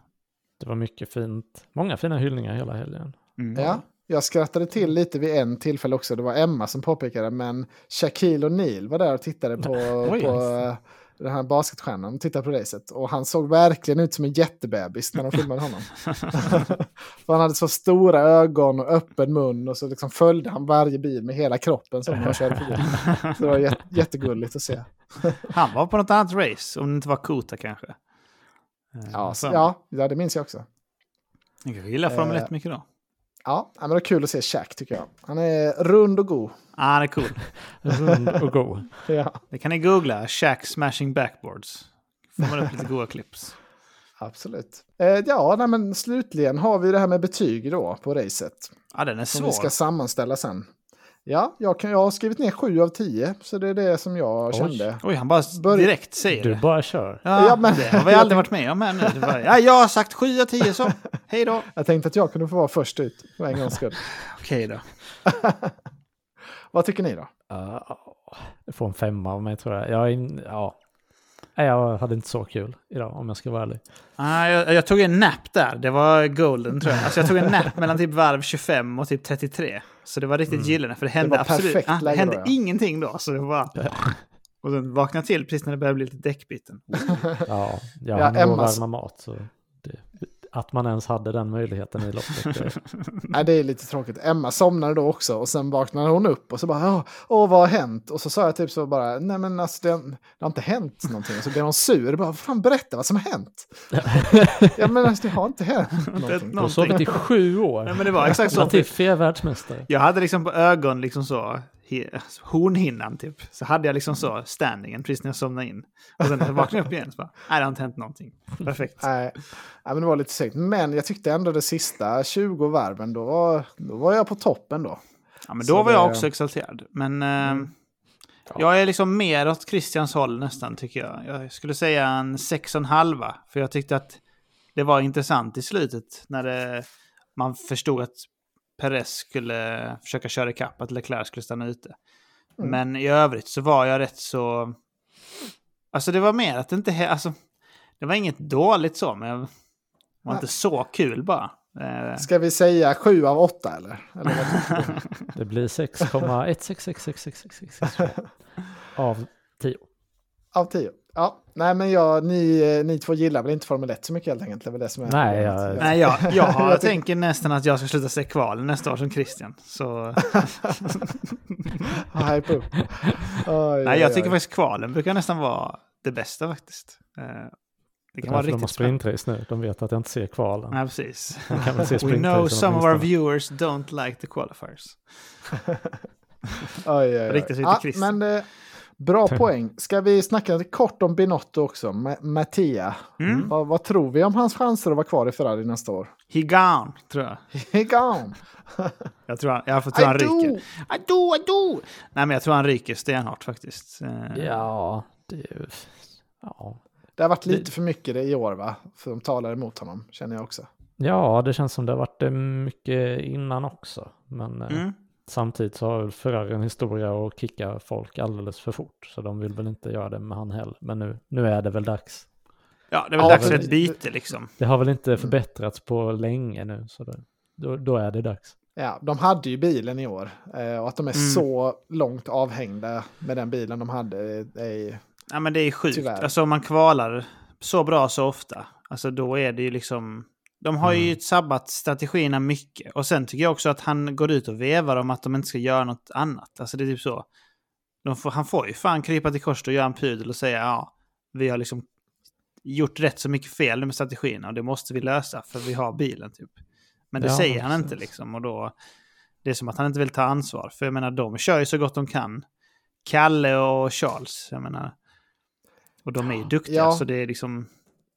Det var mycket fint. Många fina hyllningar hela helgen. Mm. Ja, jag skrattade till lite vid en tillfälle också. Det var Emma som påpekade, men Shaquille O'Neal var där och tittade på, Oj. på eh, den här basketstjärnan. Tittade på racet. Och han såg verkligen ut som en jättebebis när de filmade honom. (laughs) För han hade så stora ögon och öppen mun och så liksom följde han varje bil med hela kroppen som han körde förbi. Så det var jä- jättegulligt att se. Han var på något annat race, om det inte var Kota kanske. Eh, Ja, så, fan. ja, ja, det minns jag också. Jag kanske gillar Formel Eh. 1 mycket då. Ja, men det är kul att se Shaq tycker jag. Han är rund och god. Ah, det är cool. Rund och go. Ja, Det kan ni googla. Shaq smashing backboards. Får man upp lite goa clips. absolut. Eh, ja, nej, men slutligen har vi det här med betyg då på racet. Ja, den är Som svår. vi ska sammanställa sen. Ja, jag, kan, jag har skrivit ner 7 av 10, så det är det som jag kände. Oj, han bara Börj- direkt säger Du det. bara kör. Ja, Ja, men- Det har vi aldrig varit med om ännu. Det var- Ja, jag har sagt 7 av 10 (laughs) så. Hej då. Jag tänkte att jag kunde få vara först ut för en gångs skull. Okej då. Vad tycker ni då? Ja, Jag får en femma av mig tror jag. Jag, är in, ja. Nej, jag hade inte så kul idag om jag ska vara ärlig. Ah, jag, jag tog en nap där. Det var golden tror jag. Alltså, jag tog en (laughs) nap mellan typ varv 25 och typ 33. Så det var riktigt gyllene för det hände Mm. var absolut perfekt ah, det läge hände då, ja. ingenting då. Så det var... Och sen vaknade jag till precis när det började bli lite däckbyten. Ja, jag Ja, hann gå och Emmas- värma mat. Så det, att man ens hade den möjligheten i loppet. det- Nej, det är lite tråkigt. Emma somnade då också och sen vaknade hon upp och så bara åh, åh vad har hänt? Och så sa jag typ så bara nej men alltså det, det har inte hänt någonting. Och så blev hon sur och bara vad fan berätta vad som har hänt. ja men alltså, det har inte hänt någonting. Du har sovit i sju år. Nej, men det var (laughs) exakt så. Latifi är världsmästare. Jag hade liksom på ögon liksom så, he, alltså, hornhinnan typ. Så hade jag liksom så standingen precis när jag somnade in. Och sen när jag vaknade upp igen så bara, nej det har inte hänt någonting. Perfekt. Nej, nej, men det var lite segt. Men jag tyckte ändå det sista 20 varven då var, då var jag på toppen då. Ja, men Så då var jag det- Mm. också exalterad. Men eh, jag är liksom mer åt Christians håll nästan tycker jag. Jag skulle säga en sex och en halva. För jag tyckte att det var intressant i slutet när det, man förstod att Perez skulle försöka köra ikapp, att Leclerc skulle stanna ute. Mm. Men i övrigt så var jag rätt så... Alltså det var mer att det inte... he- Alltså, det var inget dåligt så, men det var inte så kul bara. Eh, Ska vi säga 7 av 8 eller? eller vad tycker (laughs) du? Det blir 6,1666666 av 10. av 10. Ja, nej men jag, ni, eh, ni två gillar väl inte Formel 1 så mycket helt enkelt? Det är väl det som är Nej, problemet. jag- Nej, jag, (laughs) jag, har- jag tänker nästan att jag ska sluta se kvalen nästa år som Christian. (laughs) Så, Ja, (laughs) Hype upp. Oj, nej, oj, jag tycker oj. faktiskt kvalen brukar nästan vara det bästa faktiskt. Eh, Det Det kan vara är de har riktigt spännande. sprintrace nu. De vet att jag inte ser kvalen. Nej, precis. De kan väl se We know sprintracen some of our åtminstone. viewers don't like the qualifiers. Oj, oj, oj. Riktar sig till Ja, Chris. men, eh, bra poäng. Ska vi snacka lite kort om Binotto också? Ma- Mattia. Mm. Vad, vad tror vi om hans chanser att vara kvar i Ferrari nästa år? (laughs) He gone, tror jag. He gone. Jag tror han, jag får tro han I do. ryker. I do, I do! Nej, men jag tror han ryker stenhårt faktiskt. Eh, Ja, det är ju... Ja. Det har varit lite för mycket det i år va? För de talar emot honom känner jag också. ja, det känns som det har varit eh, mycket innan också. Men eh, Mm. samtidigt så har väl Ferrari en historia att kicka folk alldeles för fort. Så de vill väl inte göra det med han heller. Men nu, nu är det väl dags. Ja, det är väl Ja, dags för men- ett byte liksom. Det har väl inte förbättrats på länge nu. Så det, då, då är det dags. Ja, de hade ju bilen i år eh, och att de är Mm. så långt avhängda med den bilen de hade. eh, Är, ju- Ja, men det är sjukt. Tyvärr. Alltså om man kvalar så bra så ofta, alltså då är det ju liksom... De har Mm. ju sabbat strategierna mycket. Och sen tycker jag också att han går ut och vevar om att de inte ska göra något annat. Alltså det är typ så. De får, han får ju fan krypa till korset och göra en pudel och säga ja, vi har liksom gjort rätt så mycket fel med strategierna och det måste vi lösa för vi har bilen typ. Men det Ja, säger han inte precis. liksom och då... Det är som att han inte vill ta ansvar. För jag menar, de kör ju så gott de kan. Kalle och Charles, jag menar. Och de är ju duktiga, Ja. så det är liksom...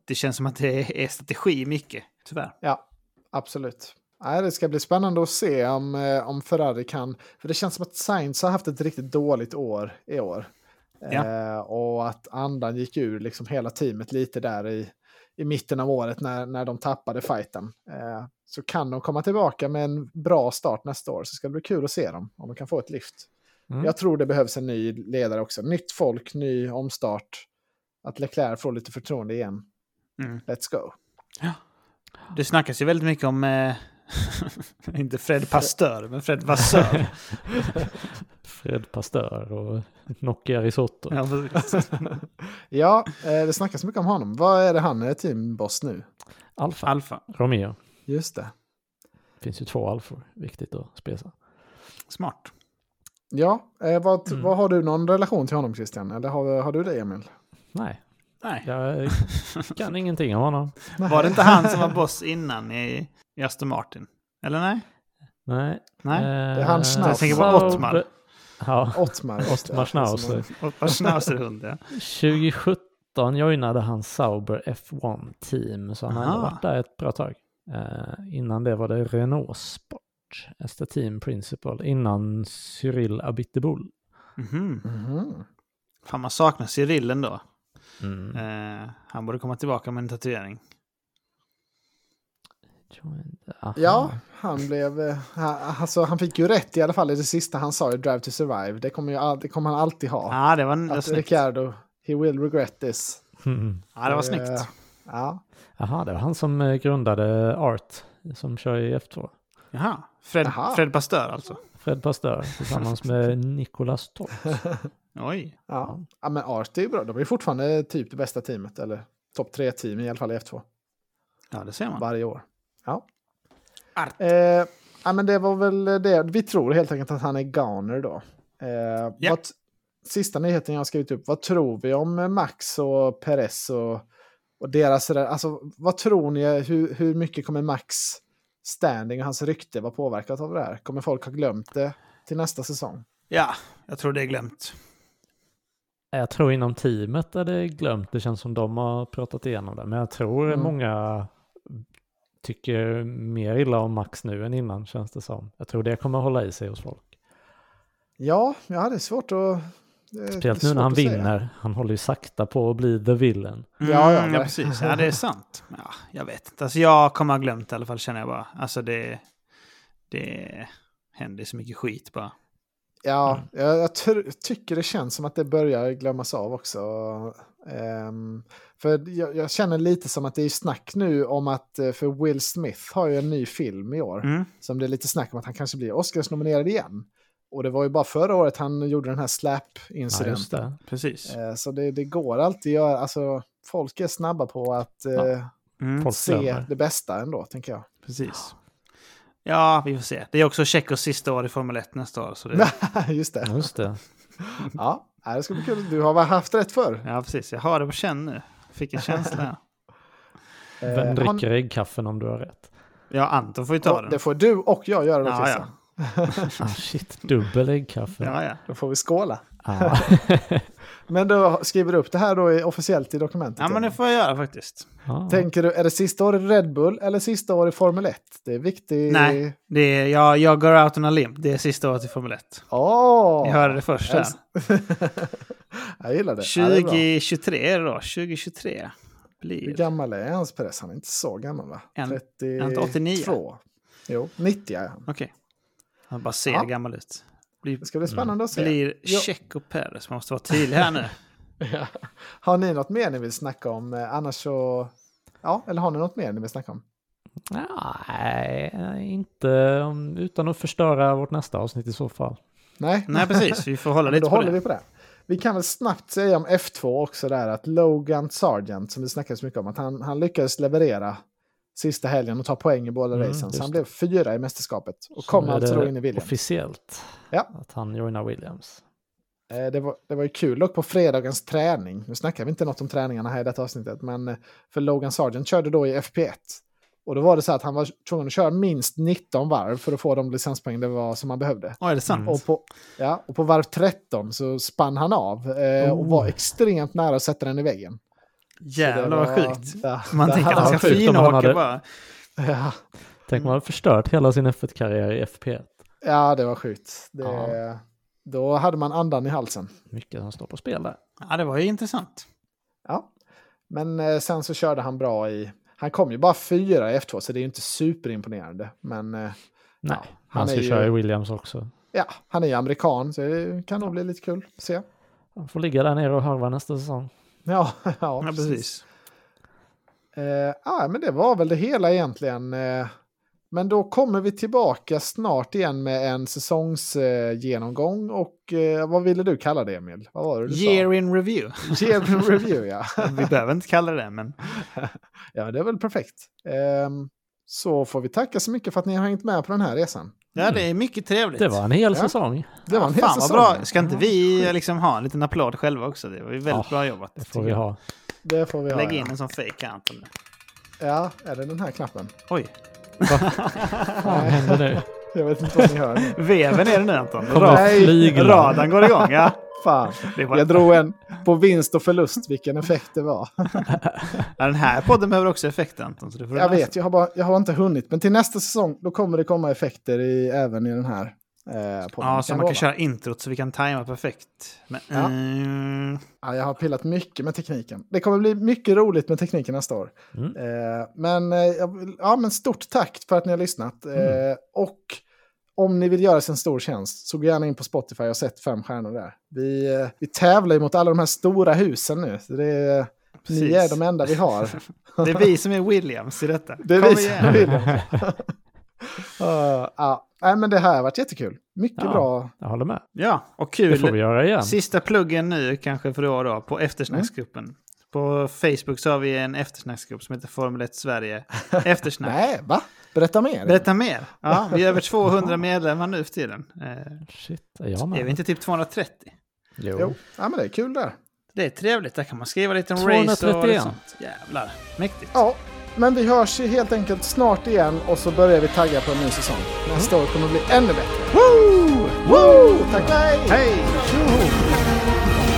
Det känns som att det är strategi mycket, tyvärr. Ja, absolut. Nej, det ska bli spännande att se om, eh, om Ferrari kan. För det känns som att Sainz har haft ett riktigt dåligt år i år. Ja. Eh, och att andan gick ur liksom hela teamet lite där i, i mitten av året när, när de tappade fighten. Eh, så kan de komma tillbaka med en bra start nästa år så ska det bli kul att se dem om de kan få ett lyft. Mm. Jag tror det behövs en ny ledare också. Nytt folk, ny omstart. Att Leclerc får lite förtroende igen. Mm. Let's go. Det snackas ju väldigt mycket om... Eh, (laughs) inte Fred Pasteur, men Fred Vassör. (laughs) Fred Pasteur och (laughs) Nokia Risotto. Ja, precis. Ja, eh, det snackas mycket om honom. Vad är det han är teamboss nu? Alfa. Alfa. Romeo. Just det. Det finns ju två alfor. Viktigt att spesa. Smart. Ja, eh, vad, Mm. vad har du någon relation till honom Christian? Eller har, har du det Emil? Nej, Nej. (laughs) jag kan ingenting om honom. Var det inte han som var boss innan i, i Aston Martin? Eller nej? Nej. eh, Nej, är han Schnauzer. Jag tänker på Ottmar. Ja, (laughs) Ottmar. just det. Ottmar Schnauzer. Eh. Ottmar Schnauzerhund, ja. 2017 joinade han Sauber F1-team, så han har ändå Aha. varit där ett bra tag. Eh, innan det var det Renault Sport, Ester Team Principal, innan Cyril Abiteboul. Mhm. Mhm. Fan, man saknar Cyril ändå. Mm. Eh, han borde komma tillbaka med en tatuering. Joined- aha. (laughs) Ja, han blev... eh, ha- Alltså, han fick ju rätt i alla fall i det sista han sa i Drive to Survive. Det kommer, ju, all- det kommer han alltid ha. Ja, ah, det var, en- det var att snyggt. Ricardo, he will regret this. Mm. Ja, det var Eh, snyggt. Ja. Jaha, det var han som eh, grundade Art, som kör i F2. Jaha. Fred, Jaha. Fred Pasteur alltså. Fred Pasteur tillsammans med Nicolas Torp. Oj. Ja. ja, men Art är ju bra. De är ju fortfarande typ det bästa teamet, eller topp tre team i alla fall i F2 Ja, det ser man. varje år. Ja. Art. Eh, ja, men det var väl det. Vi tror helt enkelt att han är Garner då. Eh, Ja. vad, sista nyheten jag har skrivit upp. Vad tror vi om Max och Perez och, och deras... Alltså, vad tror ni? Hur, hur mycket kommer Max standing och hans rykte vara påverkat av det här? Kommer folk ha glömt det till nästa säsong? Ja, jag tror det är glömt. Jag tror inom teamet är det glömt. Det känns som de har pratat igenom det. Men jag tror Mm. många tycker mer illa om Max nu än innan känns det som. Jag tror det kommer hålla i sig hos folk. Ja, ja det är svårt att... det är Speciellt nu svårt när han att säga. vinner. Han håller ju sakta på att bli the villain. Ja, ja, Mm, men- precis. Ja, det är sant. Ja, jag vet inte. Alltså, jag kommer ha glömt i alla fall, känner jag bara. Alltså, det, det händer så mycket skit bara. Ja, jag, jag tr- tycker det känns som att det börjar glömmas av också. Ehm, för jag, jag känner lite som att det är snack nu om att, eh, för Will Smith har ju en ny film i år, Mm. som det är lite snack om att han kanske blir Oscars-nominerad igen. Och det var ju bara förra året han gjorde den här Ja, just slap-incidenten. det. Precis. Eh, så det, det går alltid att göra, alltså folk är snabba på att eh, Ja, Mm. Folk se glömmer. det bästa ändå, tänker jag. (laughs) Precis. Ja, vi får se. Det är också Tjechos sista år i Formel 1 nästa år. Så det, Just det. Just det. Ja, nej, det ska bli kul. Du har väl haft rätt förr? ja, precis. Jag har det på känn nu. Fick en känsla. (laughs) här. Eh, har Vem ni- dricker äggkaffen om du har rätt? Ja, Anton får ju ta Ja, den. det får du och jag göra då, Ja, Christian. ja. Ah, shit, dubbel äggkaffe. Ja, ja. Då får vi skåla. (laughs) Ah. Men då skriver du upp det här då i, officiellt i dokumentet. ja, men det Emil. får jag göra faktiskt. Ah. Tänker du, är det sista året i Red Bull eller sista året i Formel 1? Det är viktigt. Nej, det är, jag, jag går out on a limb. Det är sista året i Formel 1. Åh! Ni hörde det först här. Älsk- jag gillar det. Ja, det är bra. 2023 är det då. 2023 Hur blir... gammal är hans press? Han är inte så gammal va? En- 30... han är inte 89. 2. Jo, 90 är han. Okej. Han bara ser Ja. gammal ut. Blir, Det ska bli spännande att se. Mm. blir Ja. Checo Perez. Man måste vara tydlig här nu. Ja. Har ni något mer ni vill snacka om? Eh, Annars så... Ja, eller har ni något mer ni vill snacka om? Nej, inte om- utan att förstöra vårt nästa avsnitt i så fall. Nej? Nej, precis. Vi får hålla Men lite då på håller det. vi på det. Vi kan väl snabbt säga om F2 också där att Logan Sargent som vi snackade så mycket om att han, han lyckades leverera sista helgen och ta poäng i båda Mm, racen. just Så han det. blev fyra i mästerskapet och Så kom nu är alltså då det in i Williams. Officiellt. Ja. Att han joinar Williams. Eh, Det var, det var ju kul dock på fredagens träning. Nu snackar vi inte något om träningarna här i detta avsnittet, men eh, för Logan Sargent körde då i FP1. Och då var det så att han var tvungen att köra minst 19 varv för att få de licenspoäng det var som han behövde. Åh, är det sant? Mm. Och på, ja, och på varv 13 så spann han av eh, och Oh. var extremt nära att sätta den i väggen. Så det Jävlar vad var- sjukt. Ja, Man det tänker hade att han varit ska sjukt om han finåka hade- bara. Ja, Tänk om han hade förstört hela sin F1-karriär i FP1. ja, det var sjukt. Det, Ja. Då hade man andan i halsen. Mycket som står på spel där. Ja, det var ju intressant. Ja. Men eh, sen så körde han bra i... Han kom ju bara fyra i F2, så det är ju inte superimponerande. Men eh, Nej, han han ska är ju- köra i Williams också. ja, han är ju amerikan, så det kan nog bli lite kul att se. Han får ligga där nere och harva nästa säsong. Ja, (laughs) ja, Ja, precis. Eh, ah, men det var väl det hela egentligen. Eh, men då kommer vi tillbaka snart igen med en säsongsgenomgång. Eh, genomgång och eh, vad ville du kalla det Emil? Vad var det du Year in review. sa? (laughs) Year in review ja. Vi behöver inte kalla det det, men ja, det är väl perfekt. Ehm, så får vi tacka så mycket för att ni har hängt med på den här resan. ja, det är mycket trevligt. Det var en hel Ja. säsong. Det var en hel Fan vad säsong. bra. Ska inte vi liksom ha en liten applåd själva också? Det var ju väldigt Ja, bra jobbat. Det får tycker vi jag. ha. Det får vi ha. Lägg in Ja. en sån fake Anton. ja, är det den här knappen? Oj. Vad händer nu? Jag vet inte vad ni hör. Veven är det nu Anton. Kommer Rad- att flygla. Radan går igång, ja. (laughs) Fan. Det (laughs) var, Jag drog en på vinst och förlust, vilken effekt det var. ja, Den här podden behöver också effekt Anton. Så det får du Jag läsa. vet, jag har, bara, jag har inte hunnit. Men till nästa säsong då kommer det komma effekter i, även i den här eh, podden. Ja, så jag man lova. kan köra introt så vi kan tajma perfekt. Men, Ja. eh, (laughs) Ja, jag har pillat mycket med tekniken. Det kommer bli mycket roligt med tekniken nästa år. Mm. Eh, men, eh, jag vill- ja, men stort tack för att ni har lyssnat. Mm. Eh, och om ni vill göra oss en stor tjänst så gå gärna in på Spotify och sätt fem stjärnor där. Vi, eh, vi tävlar ju mot alla de här stora husen nu. Så det är, Precis. ni är de enda (laughs) vi har. det är vi som är Williams i detta. Det är Kom vi som igen. vill. Eh, (laughs) ja. Nej, men det här har varit jättekul. Mycket Ja. bra. Jag håller med. Ja, och Det får kul vi göra igen. Sista pluggen nu kanske för i år då, på eftersnacksgruppen. Mm. På Facebook så har vi en eftersnacksgrupp som heter Formel 1 (laughs) Sverige Eftersnack. Nej, va? Berätta mer. Berätta mer. Ja, vi är över 200 medlemmar nu för tiden. Eh, Shit, är jag med? är vi inte typ 230? Jo, ja, men det är kul där. Det är trevligt, där kan man skriva lite om race och lite 231. sånt. Jävlar, mäktigt. Ja, men vi hörs ju helt enkelt snart igen och så börjar vi tagga på en ny säsong. Nästa Mm. år kommer bli ännu bättre. Woo! Woo! Tack och hej! Hej! Tjoho!